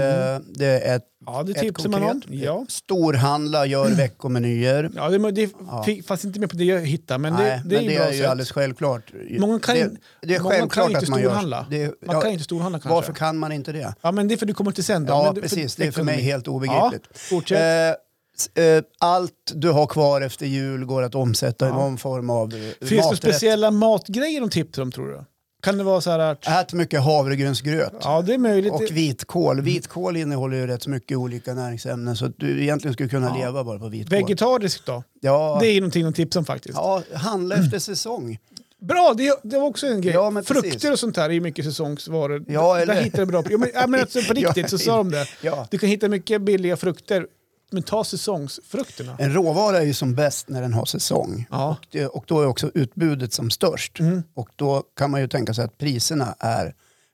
S1: det är ett,
S2: Ja, Mm. det
S1: ett
S2: tipsar man om.
S1: konkret.
S2: Ja.
S1: Storhandla, gör veckomenyer.
S2: Ja, det, det
S1: Ja.
S2: fick- fanns inte med på det jag hittade, men det,
S1: Nej,
S2: det är
S1: men
S2: ju
S1: det
S2: bra
S1: är ju
S2: sätt.
S1: alldeles självklart.
S2: Många kan-
S1: det, det är
S2: många kan
S1: självklart
S2: ju inte
S1: att man gör...
S2: storhandla.
S1: Det,
S2: Man
S1: ja,
S2: kan ju inte storhandla kanske.
S1: varför kan man inte det?
S2: Ja, men det är för du kommer inte sen då.
S1: Ja,
S2: men det,
S1: precis. Det är för mig
S2: ekonomi.
S1: helt obegripligt.
S2: Ja, fortsätt.
S1: Eh, s- eh, allt du har kvar efter jul går att omsätta i
S2: Ja.
S1: någon form av eh,
S2: Finns det
S1: maträtt.
S2: speciella matgrejer de tipsar om tror du? Kan det vara så här att...
S1: Ät mycket havregrynsgröt.
S2: Ja, det Mm. är möjligt.
S1: Och vitkål. Vitkål innehåller ju rätt mycket olika näringsämnen så att du egentligen skulle kunna
S2: Ja.
S1: leva bara på vitkål.
S2: Vegetariskt då?
S1: ja,
S2: Det är någonting de tipsar om faktiskt.
S1: ja, handla efter säsong.
S2: Bra, det, det var också en grej.
S1: Ja, men
S2: Frukter
S1: precis.
S2: och sånt här är ju mycket säsongsvaror.
S1: Ja,
S2: Där-
S1: eller-
S2: Där hittar du bra... Ja, men, ja, men alltså, på riktigt så sa de det.
S1: Ja.
S2: Du kan hitta mycket billiga frukter, men ta säsongsfrukterna.
S1: En råvara är ju som bäst när den har säsong.
S2: Ja.
S1: Det- eh, Och då är också utbudet som störst.
S2: Mm.
S1: Och då kan man ju tänka sig att priserna är,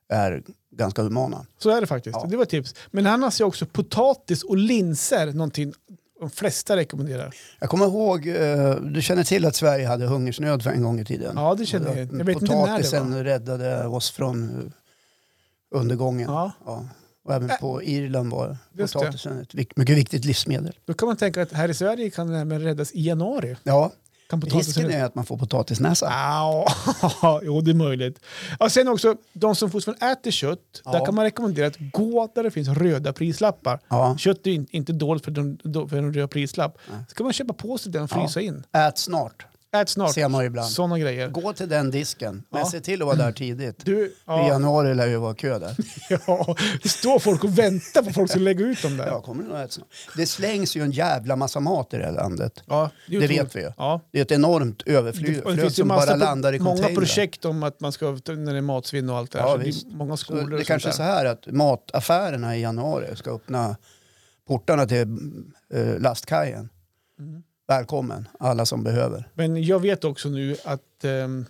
S1: är ganska humana.
S2: Så är det faktiskt.
S1: Ja.
S2: Det var ett tips. Men annars ser jag också potatis och linser, någonting de flesta rekommenderar.
S1: Jag kommer ihåg, eh, du känner till att Sverige hade hungersnöd för en gång i tiden.
S2: Ja, det känner jag. Jag vet inte när det
S1: Potatisen
S2: var.
S1: räddade oss från eh, undergången.
S2: Ja.
S1: Ja. Och även på Irland var
S2: Just det.
S1: potatisen ett vik- mycket viktigt livsmedel.
S2: Då kan man tänka att här i Sverige kan den även räddas i januari.
S1: Ja,
S2: Kan
S1: risken är att man får
S2: Ah.
S1: potatisnäsa.
S2: Au, jo det är möjligt. Och sen också, de som fortfarande äter kött,
S1: Ja.
S2: där kan man rekommendera att gå där det finns röda prislappar.
S1: Ja.
S2: Kött är ju in- inte dåligt för en för en röd prislapp.
S1: Nej.
S2: Så kan man köpa på sig den och frysa in.
S1: Ät snart,
S2: Ät snart.
S1: ser man ju ibland.
S2: Sådana grejer.
S1: Gå till den disken, men
S2: Ja.
S1: se till att vara där tidigt.
S2: Du,
S1: I
S2: ja,
S1: januari lär ju vara kö där.
S2: ja, det står folk och väntar på folk som lägger ut dem där.
S1: Ja, kommer det, nog äta snart. det slängs ju en jävla massa mat i det här landet.
S2: Ja, är
S1: Det
S2: otroligt.
S1: vet vi ju.
S2: Ja.
S1: Det är ett enormt
S2: Det, och det
S1: överflöd
S2: finns ju
S1: som bara
S2: massa,
S1: landar i
S2: många
S1: containrar.
S2: projekt om att man ska, när det är matsvinn och allt det här.
S1: Ja,
S2: så det
S1: visst.
S2: är många
S1: Så
S2: skolor och
S1: det
S2: sånt
S1: kanske är så
S2: där.
S1: här att mataffärerna i januari ska öppna portarna till eh, lastkajen.
S2: Mm.
S1: Välkommen, alla som behöver.
S2: Men jag vet också nu att ehm,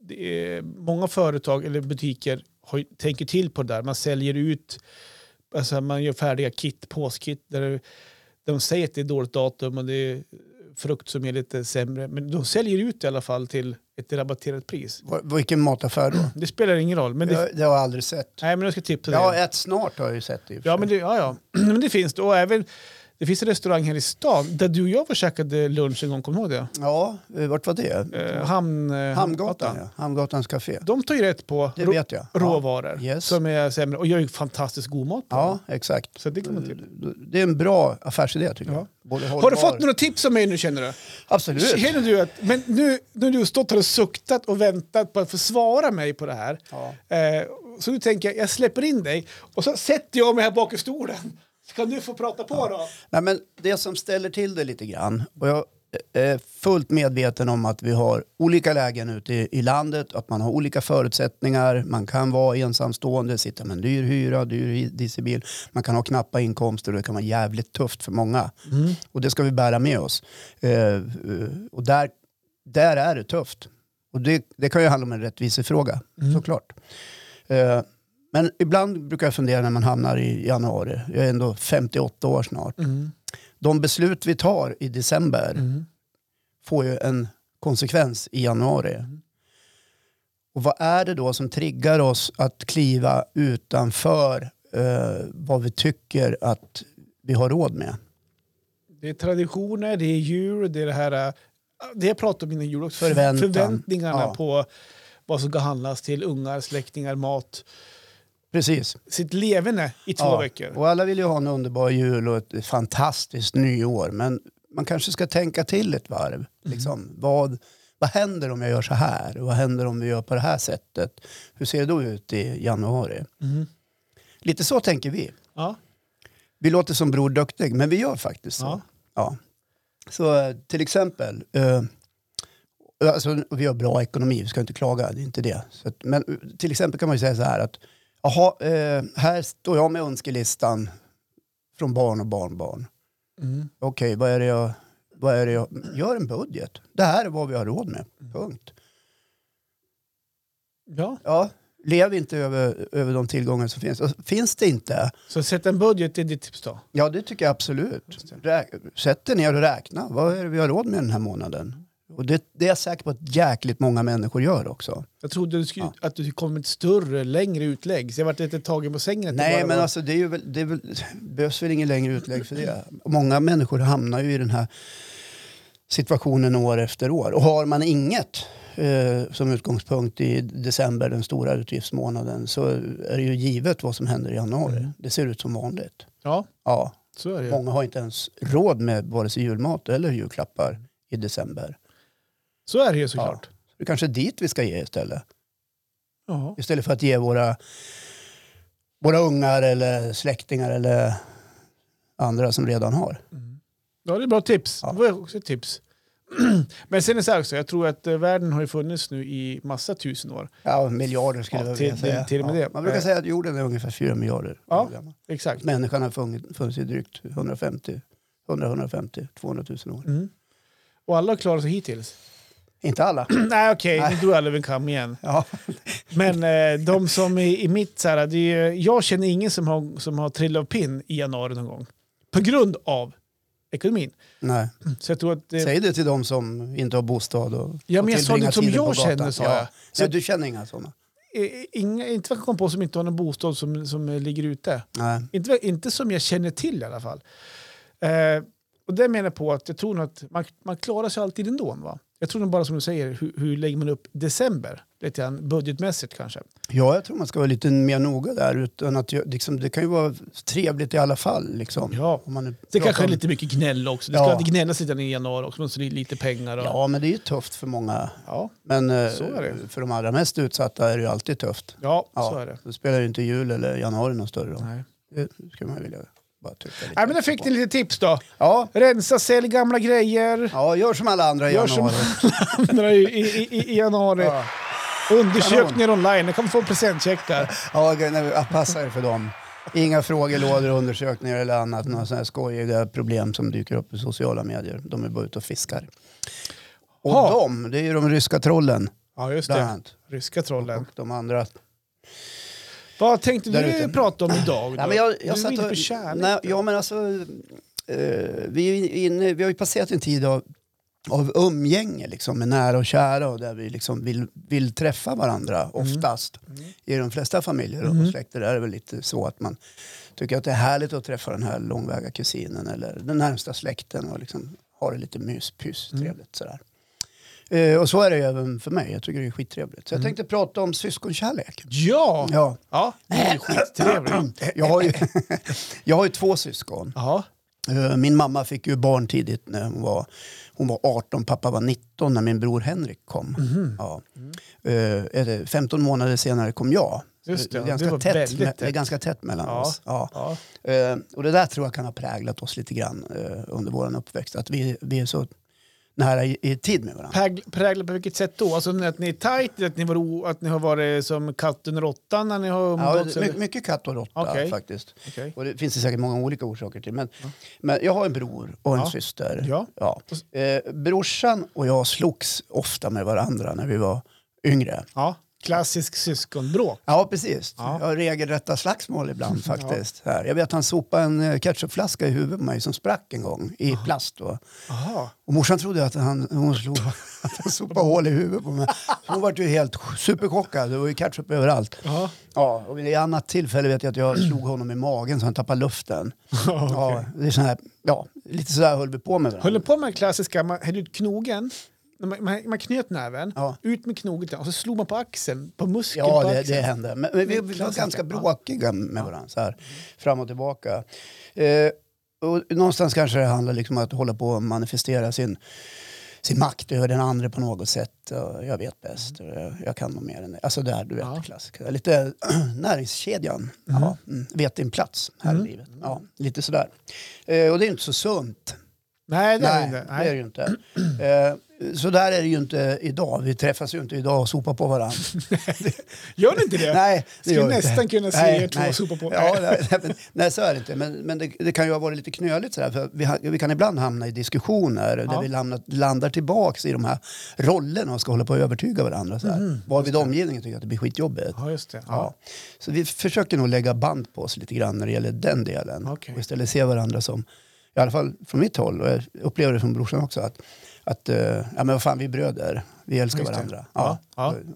S2: det är många företag eller butiker har, ju- tänker till på det där. Man säljer ut, alltså man gör färdiga kit, påskit, där det- de säger att det är dåligt datum och det är frukt som är lite sämre. Men de säljer ut i alla fall till ett rabatterat pris.
S1: Var- Vilken mataffär då?
S2: Det spelar ingen roll. Men det,
S1: Jag, det har jag aldrig sett.
S2: Nej, men jag ska tipsa dig.
S1: Ja, ett snart har jag ju sett det. i och för
S2: Ja,
S1: sig.
S2: men det, ja, ja. men det finns det. Och även Det finns en restaurang här i stan där du och jag var och käkade lunch en gång, kommer du ihåg det?
S1: Ja, eh, vart var det?
S2: Eh, Hamn, eh,
S1: Hamngatan, ja. Hamngatans café.
S2: De tar ju rätt på
S1: Det
S2: rå-
S1: vet jag. Ja.
S2: råvaror
S1: Yes.
S2: som är sämre och gör ju fantastiskt god mat på.
S1: Ja, exakt.
S2: Så det kommer till.
S1: Det är en bra affärsidé tycker
S2: Ja.
S1: jag. Både
S2: Har du
S1: Eh, hållbar-
S2: fått några tips av mig nu känner du?
S1: Absolut.
S2: Känner du att, men nu när du har stått här och suktat och väntat på att få svara mig på det här.
S1: Ja.
S2: Eh, så nu tänker jag, jag släpper in dig och så sätter jag mig här bak i stolen. Så kan du få prata på då.
S1: Nej, men det som ställer till det lite grann, och jag är fullt medveten om att vi har olika lägen ute i, i landet, att man har olika förutsättningar, man kan vara ensamstående, sitta med en dyr hyra, dyr hi- dieselbil, man kan ha knappa inkomster och det kan vara jävligt tufft för många.
S2: Mm.
S1: Och det ska vi bära med oss. Eh, eh, och där, där är det tufft. Och det, det kan ju handla om en rättvisefråga,
S2: Mm.
S1: såklart. Eh, men ibland brukar jag fundera när man hamnar i januari, jag är ändå 58 år snart, de beslut vi tar i december får ju en konsekvens i januari. Och vad är det då som triggar oss att kliva utanför eh, vad vi tycker att vi har råd med?
S2: Det är traditioner, det är djur, det är det här... eh, Det jag pratade om innan jul också.
S1: Förväntan.
S2: Förväntningarna
S1: Ja.
S2: på vad som ska handlas till ungar, släktingar, mat.
S1: Precis.
S2: Sitt leverne i två
S1: Ja.
S2: veckor.
S1: Och alla vill ju ha en underbar jul och ett fantastiskt nyår. Men man kanske ska tänka till ett varv.
S2: Mm.
S1: Liksom, vad, vad händer om jag gör så här? Vad händer om vi gör på det här sättet? Hur ser det då ut i januari?
S2: Mm.
S1: Lite så tänker vi.
S2: Ja.
S1: Vi låter som Bror Duktig, men vi gör faktiskt så.
S2: Ja.
S1: Ja. Så eh, till exempel, eh, alltså, vi har bra ekonomi, vi ska inte klaga, det är inte det. Så att, men eh, till exempel kan man ju säga så här att, jaha, eh, här står jag med önskelistan från barn och barnbarn.
S2: Mm.
S1: Okej, vad är det jag, vad är det jag, gör en budget. Det här är vad vi har råd med, punkt.
S2: ja.
S1: Ja, lev inte över, över de tillgångar som finns. Och finns det inte,
S2: Så sätt en budget, det är ditt tips då.
S1: Ja, det tycker jag absolut. Räk- Sätt dig ner och räkna. Vad är det vi har råd med den här månaden? Och det, det är jag säker på att jäkligt många människor gör också.
S2: Jag trodde du skulle,
S1: Ja.
S2: att du kom med ett större, längre utlägg. Så jag vart lite tagen på sängen. att det
S1: Nej,
S2: bara
S1: men
S2: var-
S1: alltså, det, är ju väl, det är väl, behövs väl ingen längre utlägg för det. Många människor hamnar ju i den här situationen år efter år. Och har man inget eh, som utgångspunkt i december, den stora utgiftsmånaden, så är det ju givet vad som händer i januari. Det ser ut som vanligt.
S2: Ja,
S1: Ja,
S2: så är det. ju.
S1: Många har inte ens råd med vare sig julmat eller julklappar i december.
S2: Så är det ju såklart.
S1: Så det är kanske är dit vi ska ge istället.
S2: Ja.
S1: Istället för att ge våra, våra ungar eller släktingar eller andra som redan har.
S2: Ja, det är bra tips.
S1: Ja.
S2: Det var också ett tips. Men sen är det så här också, jag tror att eh, världen har ju funnits nu i massa tusen år.
S1: Ja, miljarder skulle
S2: Ja,
S1: jag
S2: till-
S1: vilja säga.
S2: till och med
S1: ja.
S2: det.
S1: Man brukar
S2: Eh.
S1: säga att jorden är ungefär 4 miljarder
S2: Ja.
S1: år gammal.
S2: Exakt.
S1: Människan har funnits funnits i drygt 150, 100, 150, 200 000 år.
S2: Mm. Och alla har klarat sig hittills.
S1: Inte alla.
S2: Nej okej,
S1: Nej.
S2: nu drog jag över en kam igen.
S1: Ja.
S2: Men eh, de som är i mitt, så här, det är, ju- jag känner ingen som har, som har trillat av pinn i januari någon gång. På grund av ekonomin.
S1: Nej.
S2: Så jag tror att... Eh,
S1: Mm. Säg det till de som inte har bostad och
S2: Ja, men
S1: och
S2: jag sa det
S1: tillbringar
S2: som
S1: tiden
S2: jag
S1: på gatan.
S2: känner, sa
S1: Ja.
S2: jag. Så-
S1: Nej, du känner inga sådana?
S2: eh, inga, inte vad jag kom på som inte har någon bostad som, som eh, ligger ute.
S1: Nej.
S2: Inte, inte som jag känner till i alla fall. Eh, och det menar jag på att jag tror nog att man, man klarar sig alltid ändå. Va? Jag tror nog bara som du säger, hur, hur lägger man upp december? Lite grann budgetmässigt kanske.
S1: Ja, jag tror man ska vara lite mer noga där. Utan att, jag- liksom, det kan ju vara trevligt i alla fall. Liksom.
S2: Ja.
S1: Om man nu
S2: Det
S1: pratar
S2: kanske är
S1: om-
S2: lite mycket gnäll också. Det
S1: Ja.
S2: ska alltid gnällas lite grann i januari också, men så det är lite pengar. Och, ja.
S1: Ja, men det är ju tufft för många.
S2: Ja,
S1: Men eh,
S2: Så är det.
S1: för de allra mest utsatta är det ju alltid tufft. Ja.
S2: så är det.
S1: Då spelar ju inte jul eller januari någon större roll.
S2: Nej.
S1: Det skulle man ju vilja bara tycka lite
S2: Nej, men där fick
S1: på.
S2: ni lite tips då.
S1: Ja.
S2: Rensa, sälj gamla grejer.
S1: ja, gör som alla andra i
S2: Gör som-
S1: januari.
S2: Andra i, i, i, i januari.
S1: Ja.
S2: Undersökningar online. Jag kan få en presentcheck där.
S1: Ja, nej, ja, passa er för dem. Inga frågelådor, undersökningar eller annat. Några sådana här skojiga problem som dyker upp i sociala medier. De är bara ute och fiskar. Och
S2: Ha.
S1: de, det är ju de ryska trollen
S2: Ja, just
S1: bland
S2: det.
S1: annat.
S2: Ryska trollen.
S1: Och de andra.
S2: Vad tänkte
S1: Där
S2: du
S1: ute.
S2: prata om idag? Då?
S1: Nej, men jag,
S2: du
S1: jag
S2: är
S1: satt
S2: inne
S1: och,
S2: på kärlek.
S1: nej, ja, men alltså, eh, vi, är ju inne, vi har ju passerat en tid av av umgänge liksom, med nära och kära och där vi liksom vill, vill träffa
S2: Mm.
S1: varandra oftast. I de flesta familjer och släkter är det väl lite så att man tycker att det är härligt att träffa den här långväga kusinen eller den närmsta släkten och liksom ha det lite myspys,
S2: Mm.
S1: trevligt sådär. Eh, och så är det ju även för mig, jag tycker det är skittrevligt. Så jag tänkte prata om syskonkärlek.
S2: Mm. Ja! ja.
S1: Ja,
S2: det är ju skittrevligt.
S1: jag, har ju, jag har ju två syskon.
S2: Ja.
S1: Eh, Min mamma fick ju barn tidigt när hon var, hon var 18, pappa var 19 när min bror Henrik kom.
S2: Mhm.
S1: Ja. Eh, är det 15 månader senare kom jag. Så
S2: Just det,
S1: är
S2: ja,
S1: ganska
S2: det var
S1: tätt,
S2: väldigt
S1: me- Det är
S2: tätt.
S1: ganska tätt mellan
S2: Ja.
S1: oss. Ja.
S2: Ja.
S1: Eh, Och det där tror jag kan ha präglat oss lite grann eh, under vår uppväxt. Att vi, vi är så nära i, i tid med varandra.
S2: Prägl- Prägla på vilket sätt då? Alltså att ni är tajt, att ni, var o, att ni har varit som katten och råttan när ni har
S1: Ja,
S2: umgåtts?
S1: my,
S2: eller?
S1: mycket katt och råtta
S2: Okej.
S1: faktiskt.
S2: Okej.
S1: Och det finns det säkert många olika orsaker till. Men, men jag har en bror och en
S2: Ja.
S1: syster.
S2: Ja.
S1: Ja. Eh, brorsan och jag slogs ofta med varandra när vi var yngre.
S2: ja, klassisk syskonbråk.
S1: Ja, precis.
S2: Ja.
S1: Jag har regelrätta slagsmål ibland faktiskt. Här. Jag vet att han sopade en eh, ketchupflaska i huvudet på mig som sprack en gång i plast. Då.
S2: Aha.
S1: Och morsan trodde att han, hon slog, att han sopade hål i huvudet på mig. Hon var ju helt superchockad. Det var ju ketchup överallt.
S2: Ja.
S1: Ja, och vid ett annat tillfälle vet jag att jag slog honom i magen så han tappade luften. Ja, det är sån här, ja, lite sådär höll vi på med varandra.
S2: Höll ni på med den klassiska, man hällde ut knogen, man, man, man knöt näven,
S1: Ja.
S2: ut med knogen och så slog man på axeln, på muskeln
S1: Ja,
S2: på
S1: det,
S2: axeln.
S1: det hände. Men, men vi, vi var
S2: Klassiker.
S1: ganska
S2: Ja.
S1: bråkiga med varandra, så här, fram och tillbaka. Eh, och någonstans kanske det handlar liksom om att hålla på och manifestera sin, sin makt över den andra på något sätt. Och Jag vet bäst, och jag, jag kan nog mer än Alltså där, du vet,
S2: Ja.
S1: klassiker. Lite näringskedjan. Ja, mm, vet din plats här i livet. Ja, lite sådär. Eh, och det är inte så sunt.
S2: Nej, det är
S1: Nej,
S2: det inte.
S1: det är det
S2: Nej.
S1: ju inte. Eh, så där är det ju inte idag. Vi träffas ju inte idag och sopar på varandra.
S2: Gör ni inte det?
S1: Nej, det
S2: Skulle
S1: gör jag
S2: nästan
S1: inte.
S2: kunna se
S1: Nej,
S2: er två
S1: nej.
S2: sopa på.
S1: Ja, nej, nej, men, nej, så är det inte. Men, men det, det kan ju ha varit lite knöligt sådär. För vi, ha- vi kan ibland hamna i diskussioner där
S2: Ja.
S1: vi landar, landar tillbaks i de här rollerna och ska hålla på att övertyga varandra. Sådär. Varvid omgivningen tycker att det blir skitjobbigt.
S2: Mhm. Ja, just det.
S1: Ja.
S2: Ja.
S1: Så vi försöker nog lägga band på oss lite grann när det gäller den delen.
S2: Okej.
S1: Och istället se varandra som, i alla fall från mitt håll, och jag upplever det från brorsan också, att, att eh, ja, men vad fan, vi är bröder. Vi älskar
S2: Just det.
S1: varandra.
S2: Ja,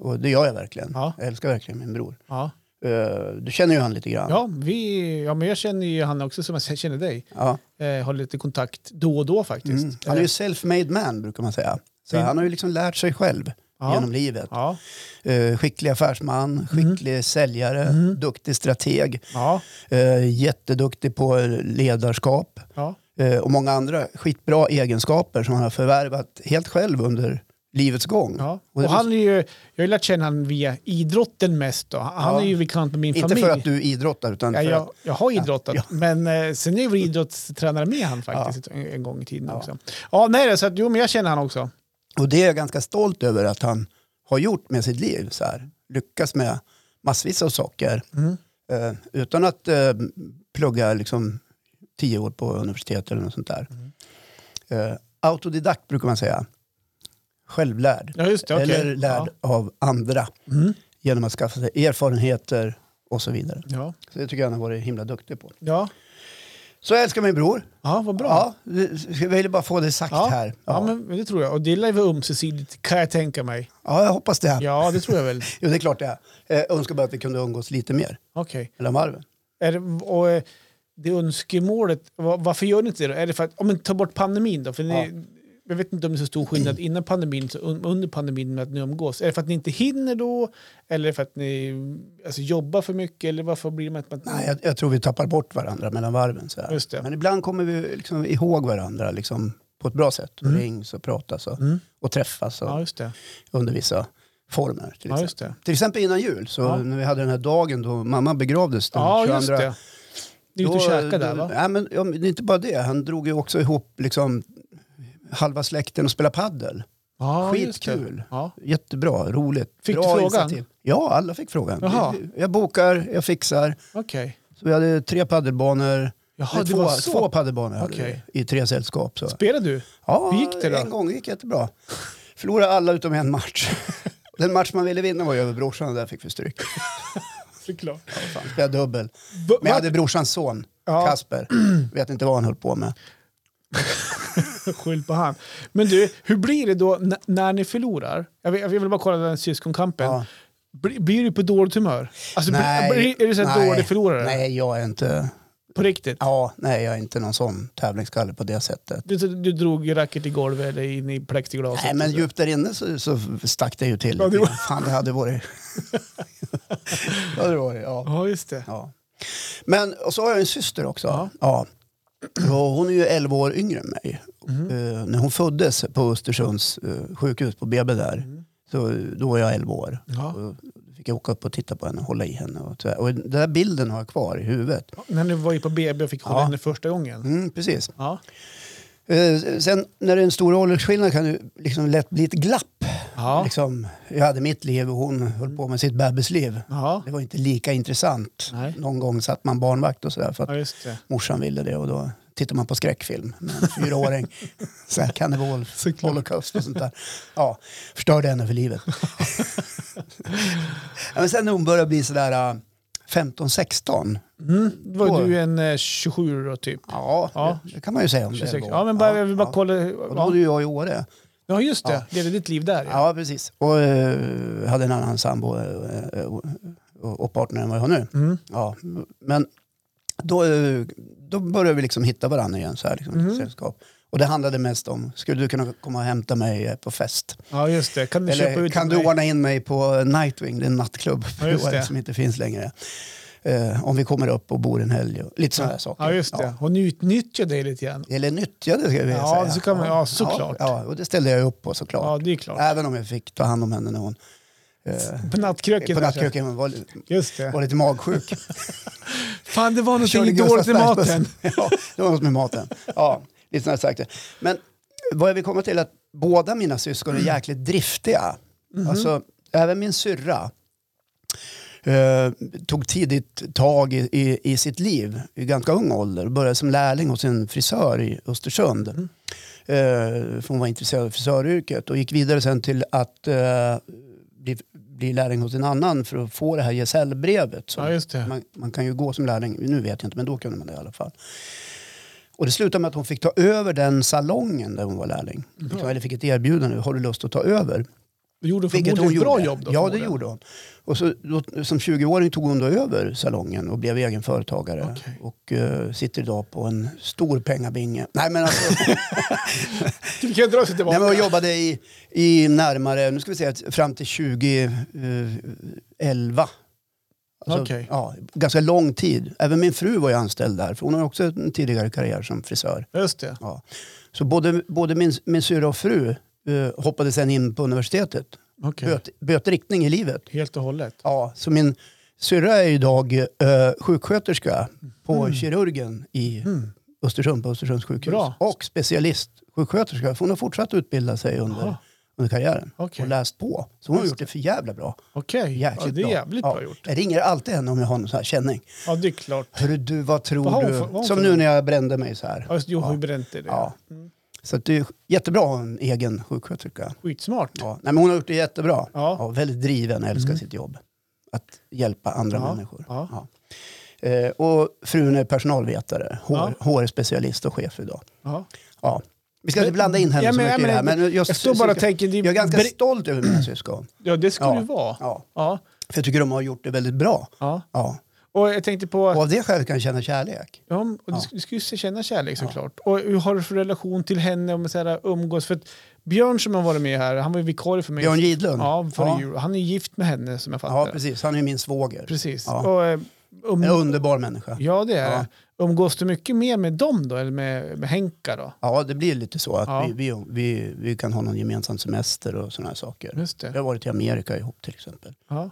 S1: Och, och det gör jag verkligen.
S2: Ja.
S1: Jag älskar verkligen min bror.
S2: Ja.
S1: Eh, du känner ju han lite grann.
S2: Ja, vi, ja, men jag känner ju han också som jag känner dig.
S1: Ja.
S2: Eh, har lite kontakt då och då faktiskt.
S1: Mm. Han är ju self-made man brukar man säga. Så
S2: Fin-
S1: han har ju liksom lärt sig själv
S2: Ja.
S1: genom livet.
S2: Ja, Mm.
S1: Eh, skicklig affärsman, skicklig säljare, duktig strateg,
S2: ja,
S1: eh, jätteduktig på ledarskap
S2: ja.
S1: eh, och många andra skitbra egenskaper som han har förvärvat helt själv under livets gång.
S2: ja.
S1: Och det
S2: Och han är ju, jag har ju lärt känna honom via idrotten mest. Då. Han
S1: Ja.
S2: är ju bekant med min
S1: inte
S2: familj.
S1: för att du idrottar utan
S2: Ja,
S1: för
S2: jag,
S1: att...
S2: jag har idrottat, men eh, sen är jag ju idrottstränare med han faktiskt en, en gång i tiden
S1: Ja.
S2: också. Ja, nej, det är så att, jo, men jag känner han också.
S1: Och det är jag ganska stolt över att han har gjort med sitt liv. Så här. Lyckas med massvis av saker.
S2: Mm.
S1: Eh, utan att eh, plugga liksom, tio år på universitet eller något sånt där.
S2: Mm.
S1: Eh, autodidakt brukar man säga. Självlärd.
S2: Ja, just det. okej.
S1: Eller lärd av andra.
S2: Mm.
S1: Genom att skaffa sig erfarenheter och så vidare.
S2: Ja.
S1: Så det tycker jag han har varit himla duktig på.
S2: Ja.
S1: Så jag älskar min bror.
S2: ja, vad bra.
S1: Ja, jag ville bara få det sagt
S2: Ja.
S1: här. Ja.
S2: Ja, men det tror jag. Och det lär vara ömsesidigt kan jag tänka mig.
S1: ja, jag hoppas det.
S2: Ja, det tror jag väl.
S1: Jo, det är klart det är. Eh, önskar bara att vi kunde umgås lite mer
S2: Okej.
S1: mellan varven.
S2: Är det, och eh, det önskemålet, va- varför gör ni inte det då? Är det för att, om man tar bort pandemin då? För ni, Jag vet inte om det är så stor skillnad innan pandemin så un, under pandemin med att ni umgås. Är det för att ni inte hinner då? Eller är det för att ni alltså, jobbar för mycket? Eller varför blir det att man...
S1: Nej, jag, jag tror vi tappar bort varandra mellan varven. Så här.
S2: Just det.
S1: Men ibland kommer vi liksom ihåg varandra liksom, på ett bra sätt. Rings och pratas och,
S2: Mm.
S1: och träffas och,
S2: Ja, just det.
S1: under vissa former. Till
S2: Ja,
S1: exempel.
S2: just det.
S1: till exempel innan jul, så
S2: Ja.
S1: när vi hade den här dagen då mamma begravdes den
S2: Ja,
S1: 22.
S2: just det. Ni är ute och käkar där va?
S1: Nej, men, ja, men det är inte bara det. Han drog ju också ihop liksom, halva släkten och spelade paddel.
S2: Ja, just det.
S1: skitkul.
S2: Ja.
S1: Jättebra, roligt.
S2: Fick
S1: bra
S2: du frågan?
S1: Ja, alla fick frågan.
S2: Jaha.
S1: Vi- Jag bokar, jag fixar.
S2: Okej.
S1: Så vi hade tre paddelbanor.
S2: Jaha,
S1: Nej,
S2: det
S1: två,
S2: var så.
S1: två paddelbanor hade
S2: Okej.
S1: vi i tre sällskap. Så.
S2: Spelar du?
S1: Ja,
S2: Hur gick det då?
S1: en gång gick jättebra. Förlorade alla utom en match. Den match man ville vinna var ju över brorsan och där fick vi stryk.
S2: Såklart.
S1: Ja, fan, spelade dubbel.
S2: Va-
S1: Men jag
S2: va-
S1: hade brorsans son,
S2: Ja.
S1: Kasper. Vet inte vad han höll på med.
S2: Skyll på han. Men du, hur blir det då n- när ni förlorar? Jag vill, jag vill bara kolla den här syskonkampen.
S1: Ja.
S2: Blir, blir du på dåligt humör? Alltså,
S1: Nej,
S2: blir, är du så här
S1: nej,
S2: dålig förlorare?
S1: Nej, jag är inte,
S2: På riktigt?
S1: ja, nej, jag är inte någon sån tävlingsskalle på det sättet.
S2: Du, du drog racket i golvet eller in i plexiglaset?
S1: Nej, men djupt där inne så, så stack det ju till.
S2: Ja, det var-
S1: Fan, det hade varit... det hade varit, ja.
S2: Ja, just det.
S1: Ja. Men och så har jag en syster också. Ja. Och hon är ju 11 år yngre än mig.
S2: Mm.
S1: Eh, när hon föddes på Östersunds eh, sjukhus, på BB där,
S2: Mm.
S1: så, då var jag 11 år.
S2: Ja.
S1: Och då fick jag åka upp och titta på henne och hålla i henne. Och, så här. och den där bilden har jag kvar i huvudet.
S2: När du var ju på BB och fick hålla
S1: Ja.
S2: henne första gången.
S1: Mm, precis.
S2: Ja.
S1: Eh, sen när det är en stor åldersskillnad kan det liksom lätt bli ett glapp.
S2: Ja.
S1: Liksom, jag hade mitt liv och hon höll på med sitt bebisliv.
S2: Ja.
S1: Det var inte lika intressant.
S2: Nej.
S1: Någon gång satt man barnvakt och sådär. För att
S2: ja, just det.
S1: morsan ville det och då tittar man på skräckfilm med en fyraåring. Så här, Cannibal,
S2: Såklart.
S1: Holocaust och sånt där. Ja, förstörde henne för livet. ja, men sen när hon började bli sådär äh, 15-16.
S2: Mm. Då var
S1: År.
S2: du en eh, 27 då, typ.
S1: Ja,
S2: Ja.
S1: Det, det kan man ju säga om
S2: 26.
S1: det
S2: Ja, men bara, jag vill bara
S1: ja.
S2: kolla.
S1: Och då var
S2: Ja.
S1: ju jag i Åre.
S2: ja, just det.
S1: Ja.
S2: Levde ditt liv där. Ja.
S1: Ja, precis. Och eh, hade en annan sambo eh, och, och partner än vad jag har nu.
S2: Mm.
S1: Ja, men då, eh, då började vi liksom hitta varandra igen, så här, liksom,
S2: Mhm.
S1: sällskap. Och det handlade mest om, skulle du kunna komma och hämta mig eh, på fest?
S2: ja, just det. Kan du köpa
S1: Eller
S2: ut
S1: kan du
S2: mig?
S1: ordna in mig på Nightwing, det är en nattklubb
S2: Ja, just
S1: på
S2: det.
S1: Åre som inte finns längre. Eh, om vi kommer upp och bor en helg och lite sådana här saker.
S2: Ja, just det. Hon utnyttjar dig lite grann.
S1: Eller nyttjade ska jag vilja
S2: Ja,
S1: säga.
S2: så kan man- ja, såklart.
S1: Ja, ja, och det ställde jag upp på såklart.
S2: Ja, det är klart.
S1: Även om jag fick ta hand om henne när hon eh,
S2: På nattkröken.
S1: på
S2: där,
S1: nattkröken hon var,
S2: Just det.
S1: var lite magsjuk.
S2: Fan, det var
S1: Körde
S2: någonting dåligt i
S1: Gustavsbergs-
S2: maten.
S1: ja, det var något med maten. Ja, lite sådana saker. Men vad jag vill komma till är att båda mina syskon
S2: Mm.
S1: är jäkligt driftiga.
S2: Mhm.
S1: Alltså, även min syrra eh, tog tidigt tag i, i, i sitt liv i ganska ung ålder. Började som lärling hos en frisör i Östersund.
S2: Mm.
S1: Eh, för hon var intresserad av frisöryrket och gick vidare sen till att eh, bli, bli lärling hos en annan för att få det här gesällbrevet. som-
S2: Ja, just det.
S1: man, man kan ju gå som lärling, nu vet jag inte, men då kunde man det i alla fall. Och det slutade med att hon fick ta över den salongen där hon var lärling. Liksom, Eller fick ett erbjudande, har du lust att ta över?
S2: Du gjorde förmodligen ett bra jobb då.
S1: ja, det
S2: förmodligen.
S1: gjorde hon. Och så, då, som 20-åring tog hon då över salongen och blev egen företagare.
S2: Okej.
S1: Och eh, sitter idag på en stor pengabinge. Nej, men alltså,
S2: Vi kan dra sig
S1: nej,
S2: tillbaka.
S1: men hon jobbade i, i närmare, nu ska vi säga att fram till 2011. Alltså,
S2: Okej.
S1: ja, ganska lång tid. Även min fru var ju anställd där, för hon har också en tidigare karriär som frisör.
S2: Just det.
S1: Ja. Så både, både min, min syra och fru eh, hoppade sen in på universitetet.
S2: Okej.
S1: Böt, böt riktning i livet.
S2: Helt och hållet.
S1: Ja, så min syrra är idag eh, sjuksköterska på kirurgen i Östersund, på Östersunds sjukhus.
S2: Mm. Bra.
S1: Och specialist sjuksköterska. För hon har fortsatt utbilda sig under,
S2: Jaha.
S1: under karriären.
S2: Okej.
S1: Och läst på. Så hon har
S2: Just
S1: gjort det för jävla bra.
S2: Okej.
S1: Jäkligt
S2: Ja, det är
S1: bra.
S2: jävligt
S1: Ja.
S2: bra gjort.
S1: Jag ringer alltid henne om jag har någon sån här känning.
S2: Ja, det är klart.
S1: Hörru du, vad tror
S2: Vad har hon
S1: du?
S2: för- vad har hon
S1: Som
S2: för-
S1: nu när jag brände mig så här.
S2: Ja, just, jo,
S1: Ja.
S2: hur bränt är det? Mm.
S1: Ja. Så att det är jättebra att ha en egen sjuksköterska.
S2: Skitsmart.
S1: Ja. Nej, men hon har gjort det jättebra.
S2: Ja. Mm.
S1: Ja, väldigt driven, älskar sitt jobb. Att hjälpa andra
S2: Ja,
S1: människor.
S2: ja.
S1: Eh, och frun är personalvetare, hår,
S2: Ja.
S1: HR-specialist och chef idag.
S2: Ja.
S1: Ja. Vi ska inte blanda in henne
S2: Ja,
S1: så
S2: men-
S1: mycket
S2: ja,
S1: i det här.
S2: men-
S1: Men just,
S2: Jag står bara och
S1: jag,
S2: tänker, det
S1: jag är ganska
S2: bre-
S1: stolt över mina syskon.
S2: ja, det skulle
S1: Ja.
S2: du vara.
S1: Ja.
S2: Ja.
S1: För jag tycker de har gjort det väldigt bra.
S2: ja.
S1: Ja.
S2: Och jag tänkte
S1: Och
S2: på,
S1: av det skälet kan jag känna kärlek.
S2: ja, och du,
S1: Ja.
S2: sk- du skulle ju känna kärlek såklart. Och hur har du för relation till henne om så här, umgås? För att Björn som har varit med här, han var ju vikarie för mig.
S1: Björn Gidlund.
S2: Ja, före jul. Han är ju gift med henne som jag fattar
S1: ja, precis. Han är min svåger.
S2: Precis.
S1: Ja.
S2: Och, eh, um,
S1: En underbar människa.
S2: ja, det är
S1: Ja.
S2: det. Umgås du mycket mer med dem då, eller med, med Henka då?
S1: Ja, det blir lite så att
S2: Ja.
S1: vi, vi, vi, vi kan ha någon gemensam semester och sådana här saker.
S2: Just
S1: Vi
S2: det.
S1: har varit till Amerika ihop till exempel.
S2: Ja.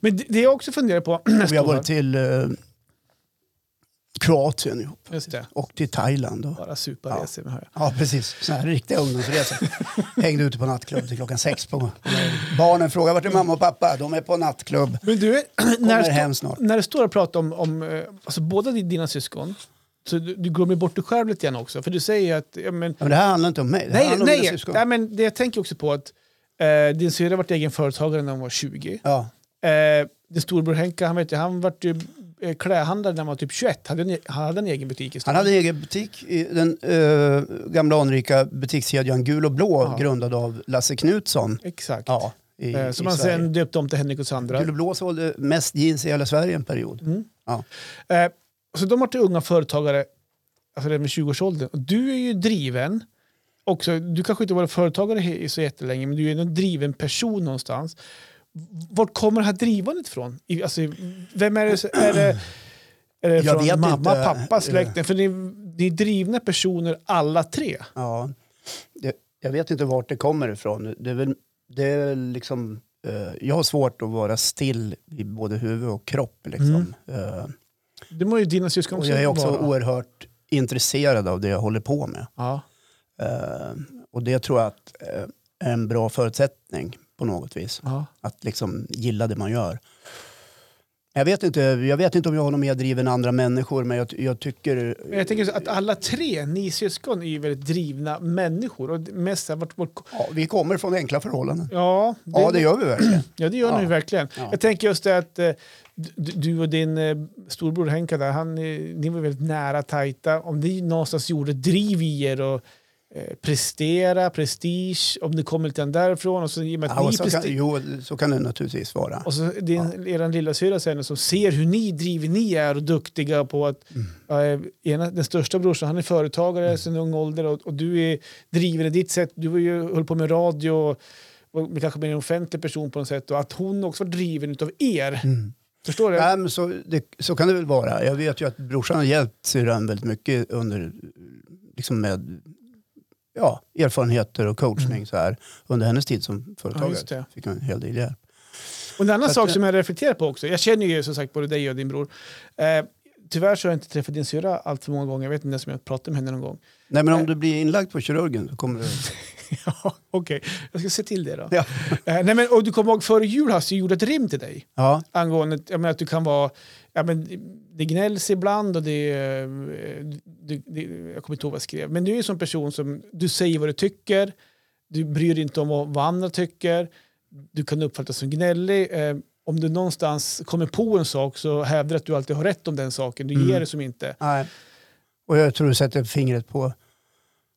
S2: Men det, det jag också funderar på...
S1: Och vi har varit till eh, Kroatien ihop
S2: Just det.
S1: och till Thailand. Och,
S2: Bara superresor. Ja.
S1: ja, precis. Sådana här riktiga ungdomsresor. Hängde ute på nattklubb till klockan sex på, på Barnen frågar vart är mamma och pappa? De är på nattklubb.
S2: Men du, när du,
S1: Kommer
S2: stå,
S1: hem snart.
S2: när du står och pratar om, om eh, alltså, båda di- dina syskon, så du, du glömmer bort dig själv lite grann också. För du säger ju att... Ja, men,
S1: Ja, men det här handlar inte om mig. Det här
S2: nej,
S1: handlar om mina
S2: nej,
S1: syskon.
S2: nej, men det jag tänker också på att eh, din syrra vart egen företagare när hon var 20.
S1: Ja,
S2: Eh, din storebror Henka, han, vet, ju- han vart ju eh, klädhandlare när man var typ 21. Hade en, e- han hade en egen butik i
S1: Han
S2: Stockholm.
S1: hade en egen butik i den eh, gamla anrika butikskedjan Gul och Blå
S2: Ja.
S1: grundad av Lasse Knutsson.
S2: Exakt.
S1: Ja, i,
S2: Eh,
S1: i
S2: Som man
S1: Sverige.
S2: sen döpte om till Henrik och Sandra.
S1: Gul och Blå sålde mest jeans i hela Sverige en period.
S2: Mm.
S1: Ja.
S2: Eh, Så de har till unga företagare, alltså det med 20-årsåldern. Och Du är ju driven, också, du kanske inte har varit företagare he- så jättelänge, men du är en driven person någonstans. Vart kommer det här drivandet ifrån? I- Alltså, vem är det? så- Är det, är det
S1: Jag
S2: från
S1: vet
S2: mamma,
S1: inte. Eh.
S2: pappa, släkten? För ni, ni är drivna personer alla tre.
S1: Ja. Det, jag vet inte vart det kommer ifrån. Det är väl, det är liksom, eh, jag har svårt att vara still i både huvud och kropp. Liksom. Eh,
S2: Det må ju dina syskon
S1: och
S2: också
S1: jag är också
S2: Mm. vara.
S1: oerhört intresserad av det jag håller på med.
S2: Ja.
S1: Eh, och det tror jag att, eh, är en bra förutsättning på något vis.
S2: Ja.
S1: Att liksom gilla det man gör. Jag vet inte, jag vet inte om jag har något mer driv än andra människor men jag, jag tycker...
S2: Men jag tänker så att alla tre, ni syskon, är ju väldigt drivna människor. Och mest, så här, vart, vart,
S1: Ja, vi kommer från enkla förhållanden.
S2: ja,
S1: Ja, det gör vi verkligen.
S2: Ja, det gör
S1: Ja.
S2: ni verkligen.
S1: Ja.
S2: Jag tänker just det att eh, d- du och din eh, storbror Henka, där, han, eh, ni var väldigt nära, tajta. Om ni någonstans gjorde driv i er och eh, prestera, prestige, om ni kommer lite grann därifrån och så i och med att
S1: Ja, och
S2: ni
S1: så kan,
S2: presterar.
S1: jo, så kan det naturligtvis vara.
S2: Och så din, er lilla syra sen som ser hur ni driver ni är och duktiga på att
S1: Mm.
S2: eh, ena, den största brorsan han är företagare sen ung ålder och, och du är, driver i ditt sätt. Du var ju, höll på med radio och var kanske mer en offentlig person på något sätt och att hon också var driven av er.
S1: Mm.
S2: Förstår du?
S1: Nej, men så, det, så kan det väl vara. Jag vet ju att brorsan har hjälpt syrran väldigt mycket under, liksom med ja, erfarenheter och coachning så här, under hennes tid som
S2: Mm. Ja,
S1: företagare.
S2: just det.
S1: fick hon en hel del hjälp.
S2: Och en annan
S1: Så att
S2: sak
S1: det-
S2: som jag reflekterar på också, jag känner ju som sagt både dig och din bror. Eh, tyvärr så har jag inte träffat din syra allt för många gånger, jag vet inte ens om jag pratat med henne någon gång.
S1: Nej, men om
S2: Nej.
S1: du blir inlagd på kirurgen så kommer du...
S2: ja, Okej, jag ska se till det då.
S1: Ja.
S2: Eh, nej, men, och du kommer ihåg före jul Hasse, jag gjorde ett rim till dig.
S1: Ja,
S2: angående jag menar, att du kan vara... Ja, men, det gnälls ibland och det, eh, du, det... Jag kommer inte ihåg vad jag skrev. Men du är en sån person som... Du säger vad du tycker. Du bryr dig inte om vad, vad andra tycker. Du kan uppfattas som gnällig. Eh, om du någonstans kommer på en sak så hävdar du att du alltid har rätt om den saken. Du
S1: Mm.
S2: ger det som inte.
S1: nej. Och jag tror du sätter fingret på...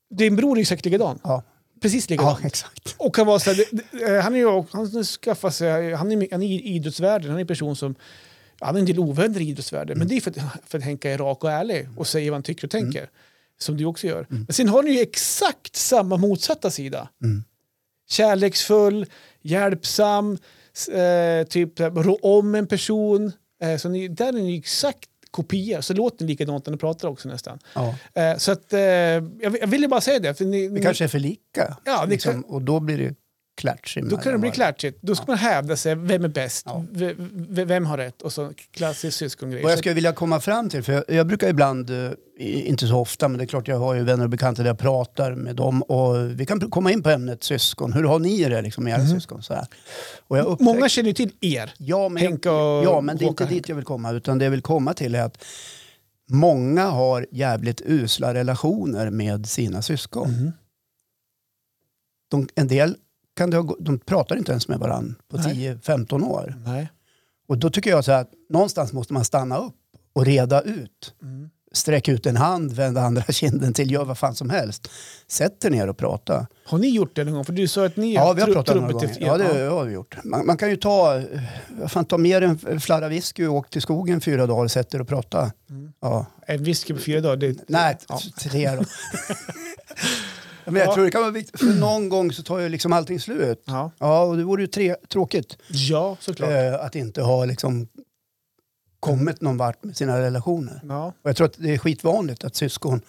S2: Din bror är exakt likadan.
S1: Ja.
S2: Precis likadan.
S1: Ja, exakt.
S2: Och kan vara så här, det, det, eh, han är ju också- han skaffar sig, han är, han är i idrottsvärlden, han är en person som, han är en del ovänner i idrottsvärlden,
S1: Mm.
S2: men det är för att, för att Henka är rak och ärlig och säger vad han tycker och tänker. Som du också gör. Men sen har ni ju exakt samma motsatta sida.
S1: Mm.
S2: Kärleksfull, hjälpsam, s- eh, typ eh, rå om en person. Eh, så ni, där är ni ju exakt kopior, så låter ni likadant när ni pratar också nästan.
S1: Ja.
S2: Eh, så att, eh, jag, vill- jag ville bara säga det. För ni,
S1: Det kanske är för lika.
S2: Ja, det
S1: liksom,
S2: kan-
S1: Och då blir det klatsch
S2: Då kan det bli klatschigt. Då ska man hävda sig. Vem är bäst?
S1: Ja.
S2: V- v- Vem har rätt? Och så klassisk syskongrej.
S1: Vad jag
S2: Så-
S1: skulle vilja komma fram till, för jag, jag brukar ibland, eh, i- inte så ofta, men det är klart jag har ju vänner och bekanta där jag pratar med dem och vi kan pr- komma in på ämnet syskon. Hur har ni det liksom, med era syskon? Så här. Och jag upptäck-
S2: Mhm. Många känner ju till er.
S1: ja, men,
S2: Henke och
S1: ja, men det är inte
S2: Håkan.
S1: dit jag vill komma, utan det jag vill komma till är att många har jävligt usla relationer med sina syskon.
S2: Mhm.
S1: De, en del kan det ha, gå- de pratar inte ens med varandra på
S2: Nej.
S1: 10-15 år.
S2: Nej.
S1: Och då tycker jag så här, att någonstans måste man stanna upp och reda ut
S2: Mm.
S1: sträck ut en hand, vänd andra kinden till, gör vad fan som helst. Sätt er ner och prata.
S2: Har ni gjort det någon gång? För du sa att ni
S1: Ja, vi har
S2: tru-
S1: pratat några
S2: trubbigt
S1: gånger.
S2: efter
S1: Ja,
S2: er.
S1: det det har vi gjort. Man, man kan ju ta, eh, vad fan, ta med en en flarra whisky och åk till skogen fyra dagar och sätt er och prata.
S2: Mm.
S1: Ja.
S2: En whisky på fyra dagar. Det...
S1: Nej,
S2: Ja.
S1: t- tre då. Ja, Men jag
S2: Ja.
S1: tror det kan vara viktigt, för någon gång så tar ju liksom allting slut.
S2: Ja.
S1: Ja, och det vore ju tre, tråkigt
S2: ja, såklart.
S1: eh, att inte ha liksom kommit någon vart med sina relationer.
S2: Ja.
S1: Och jag tror att det är skitvanligt att syskon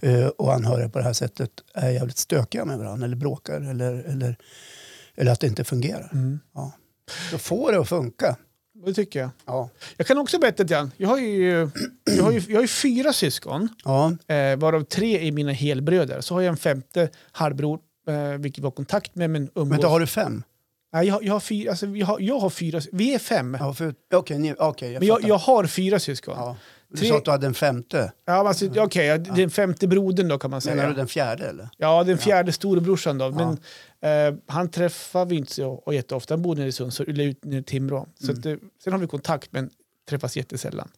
S1: eh, och anhöriga på det här sättet är jävligt stökiga med varandra eller bråkar eller, eller, eller att det inte fungerar.
S2: Mm.
S1: Då får det att funka.
S2: Det tycker jag.
S1: Ja.
S2: Jag kan också berätta lite grann. Jag har ju, jag har ju, jag har ju fyra syskon.
S1: Ja.
S2: eh, varav tre är mina helbröder. Så har jag en femte halvbror, eh, vilket vi har kontakt med men umgås.
S1: Men då har du fem?
S2: Nej, jag, har- jag, har fyra, alltså, jag, har, jag har fyra, vi är fem.
S1: Ja, för, okej, ni, okej, jag
S2: men jag,
S1: fattar.
S2: jag har fyra syskon. Ja.
S1: ja. Du
S2: tre-
S1: sa att du hade en femte.
S2: men alltså, Okej, ja, den femte brodern då kan man
S1: Menar du
S2: säga.
S1: den fjärde eller?
S2: Ja, den fjärde storebrorsan då. Men eh, han träffar vi inte så och
S1: Mm.
S2: jätteofta. Han bor nere i Sundsvall, eller ut nere i Timrå. Så att, eh, sen har vi kontakt men träffas jättesällan.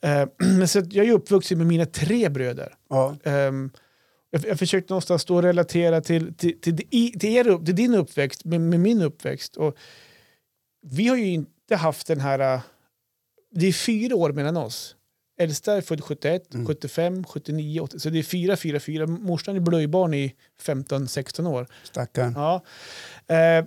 S2: Eh, men så att jag är ju uppvuxen med mina tre bröder.
S1: Ja.
S2: Ehm, jag, jag försökte någonstans då relatera till, till, till, i- till, er, upp- till din uppväxt med, med min uppväxt. Och vi har ju inte haft den här... äh, Det är fyra år mellan oss. Äldsta är född 71,
S1: Mm.
S2: 75, 79, 80. Så det är fyra, fyra, fyra. Morsan är blöjbarn i 15-16 år.
S1: Stackarn.
S2: Ja. Eh,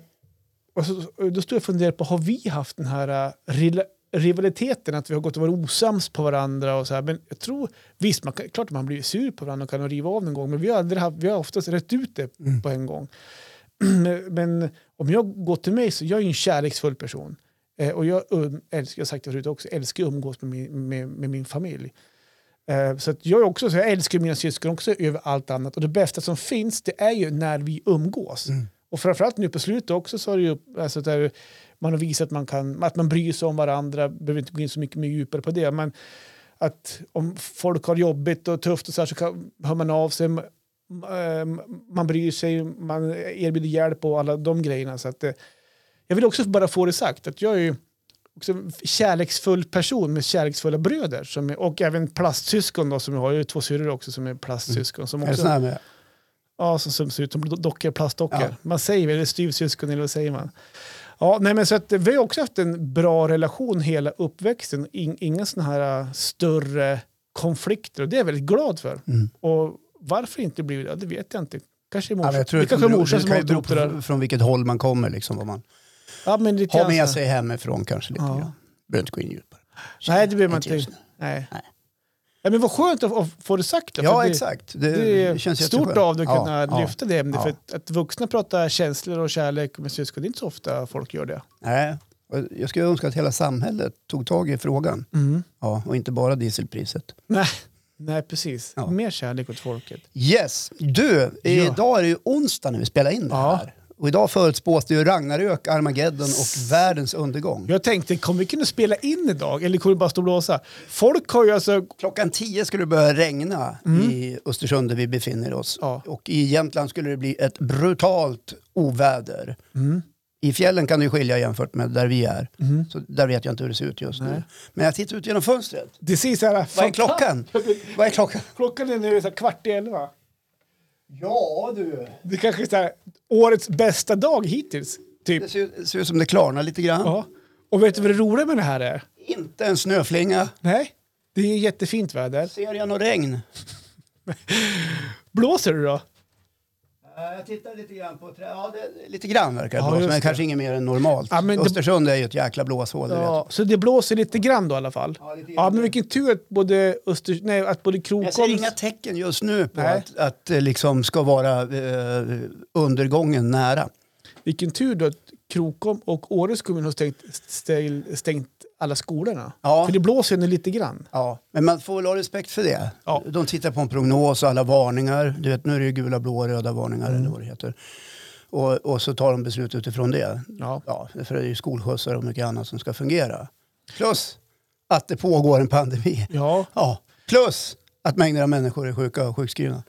S2: och så, och då stod jag och funderade på, har vi haft den här eh, rela- rivaliteten, att vi har gått och varit osams på varandra och så här, men jag tror, visst, man, kan- klart att man blir sur på varandra och kan riva av någon gång, men vi har, aldrig haft, vi har oftast rätt ut det
S1: Mm.
S2: på en gång. Men- men om jag går till mig så, jag är ju en kärleksfull person. Eh, och jag um, älskar, jag har sagt det förut också, älskar att umgås med min, med, med min familj. Eh, så att jag är också så, jag älskar mina syskon också över allt annat. Och det bästa som finns, det är ju när vi umgås.
S1: Mm.
S2: Och framförallt nu på slutet också så har det ju, alltså där man har visat att man, kan, att man bryr sig om varandra, behöver inte gå in så mycket mer djupare på det, men att om folk har jobbigt och tufft och så här så kan, hör man av sig, m- eh, man bryr sig, man erbjuder hjälp och alla de grejerna. Så att, eh, jag vill också bara få det sagt att jag är ju också en kärleksfull person med kärleksfulla bröder som är, och även plastsyskon då, som jag har, jag har ju två syrror också som är plastsyskon. Som
S1: Är det
S2: också,
S1: sån här med?
S2: Ja, som, som ser ut som do- dockor, plastdockor.
S1: Ja.
S2: Man säger väl, eller styvsyskon eller vad säger man? Ja, nej, men så att, eh, vi har också haft en bra relation hela uppväxten. In, inga sådana här eh, större konflikter och det är jag väldigt glad för.
S1: Mm.
S2: Och varför inte blir det, det vet jag inte. Kanske är
S1: Ja,
S2: morsan.
S1: men jag tror
S2: det
S1: att
S2: kanske är
S1: beror-
S2: morsan
S1: det
S2: som
S1: kan
S2: har
S1: ju bero
S2: ihop det där.
S1: på från vilket håll man kommer. Liksom, vad man
S2: Ja, men lite
S1: har med
S2: grann så.
S1: sig hemifrån kanske lite
S2: Ja.
S1: grann. Behöver inte gå in djupare.
S2: Nej, det behöver man
S1: Inte
S2: inte.
S1: just nu.
S2: Nej.
S1: Nej.
S2: Ja, men vad skönt att, att få det sagt. då, för
S1: Ja,
S2: det,
S1: exakt. Det,
S2: Det är
S1: känns
S2: stort
S1: jätteskönt.
S2: av dig att
S1: Ja,
S2: kunna
S1: ja.
S2: lyfta det ämnet.
S1: ja.
S2: För att, att vuxna pratar känslor och kärlek med syskon, det är inte så ofta folk gör det.
S1: Nej. och Jag skulle önska att hela samhället tog tag i frågan.
S2: Mm.
S1: Ja, och inte bara dieselpriset.
S2: Nej, nej precis.
S1: Ja.
S2: Mer kärlek åt folket.
S1: Yes, du. Idag är det ju onsdag när vi spelar in det
S2: Ja.
S1: här. Och idag förutspås det ju Ragnarök, Armageddon och världens undergång.
S2: Jag tänkte, kommer vi kunna spela in idag eller kommer det bara stå och blåsa? Folk har ju alltså...
S1: Klockan 10 skulle det börja regna i Östersund där vi befinner oss.
S2: Ja.
S1: Och i Jämtland skulle det bli ett brutalt oväder. I fjällen kan det ju skilja jämfört med där vi är. Så där vet jag inte hur det ser ut just nu. Men jag tittar ut genom fönstret.
S2: Det ser så här...
S1: Vad är klockan? Vad är klockan?
S2: Klockan är nu så här kvart i elva.
S1: Ja du.
S2: Det kanske är så här, årets bästa dag hittills. Typ.
S1: Det ser, ut- ser ut som det klarnar lite grann.
S2: Ja. Och vet du vad det roliga med det här är?
S1: Inte en snöflinga.
S2: Nej, det är jättefint väder.
S1: Ser jag något regn?
S2: Blåser det då?
S1: Eh, Jag tittar lite grann på trä... Ja, det, lite grann verkar det
S2: Ja,
S1: blåsa,
S2: just
S1: men
S2: det.
S1: kanske inget mer än normalt.
S2: Ja, men det-
S1: Östersund är ju ett jäkla blåshål, det vet
S2: Ja, så det blåser lite grann då i alla fall?
S1: Ja, lite grann.
S2: Ja, men vilken tur att både, Öster... Nej, att både
S1: Jag
S2: Krokoms...
S1: ser inga tecken just nu på
S2: Nej.
S1: att, att det liksom ska vara eh, undergången nära.
S2: Vilken tur då att Krokom och Åres kommun har stängt, stäng- stängt alla skolorna.
S1: Ja.
S2: För det blåser ju nu lite grann.
S1: Ja. Men man får väl ha respekt för det.
S2: Ja.
S1: De tittar på en prognos och alla varningar. Du vet, nu är det ju gula, blåa, röda varningar
S2: Mm.
S1: eller vad det heter. Och, och så tar de beslut utifrån det.
S2: Ja.
S1: Ja, för det är ju skolskjutsar och mycket annat som ska fungera. Plus att det pågår en pandemi.
S2: ja.
S1: Ja. Plus att mängder av människor är sjuka och sjukskrivna.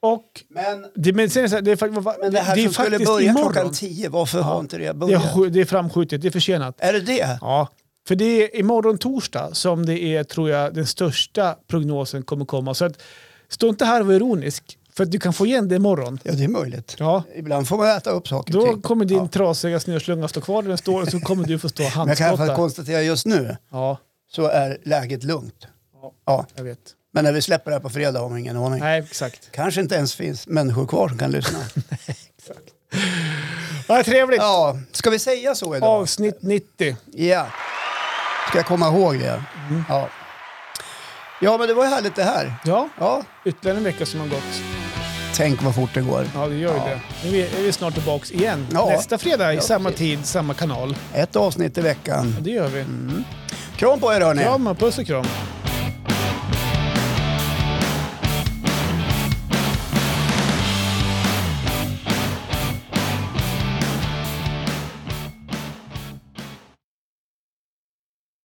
S2: Och
S1: Men,
S2: det, men sen är det, så här, det är, fakt- vad-
S1: men det här
S2: det är
S1: som skulle
S2: faktiskt
S1: börja
S2: imorgon.
S1: klockan tio, varför har inte det
S2: det, är,
S1: börjat?
S2: sk- det är framskjutet, det är försenat.
S1: Är det det?
S2: Ja. För det är imorgon torsdag som det är, tror jag, den största prognosen kommer komma. Så att, stå inte här och var ironisk, för att du kan få igen det imorgon.
S1: Ja, det är möjligt.
S2: Ja.
S1: Ibland får man äta upp saker och
S2: Då
S1: ting.
S2: kommer din
S1: Ja.
S2: trasiga snöslunga stå kvar där den står och så kommer du få stå och
S1: Men jag kan i alla fall
S2: handspotta.
S1: konstatera just nu
S2: Ja,
S1: så är läget lugnt.
S2: Ja.
S1: Ja.
S2: jag vet.
S1: Men när vi släpper det här på fredag har man ingen aning.
S2: Nej, exakt.
S1: Kanske inte ens finns människor kvar som kan lyssna.
S2: Ja, trevligt.
S1: ja, ska vi säga så idag?
S2: Avsnitt 90.
S1: Ja. Ska jag komma ihåg det?
S2: Mm.
S1: Ja. ja, men det var ju härligt det här.
S2: Ja,
S1: Ja,
S2: ytterligare en vecka som har gått.
S1: tänk vad fort det går.
S2: Ja, det gör ju
S1: Ja.
S2: det. Nu är vi- är vi snart tillbaka igen.
S1: Ja.
S2: Nästa fredag i
S1: Ja,
S2: samma
S1: det-
S2: tid, samma kanal.
S1: Ett avsnitt i veckan.
S2: Det gör vi.
S1: Kram på er hörni!
S2: Kram, puss och kram.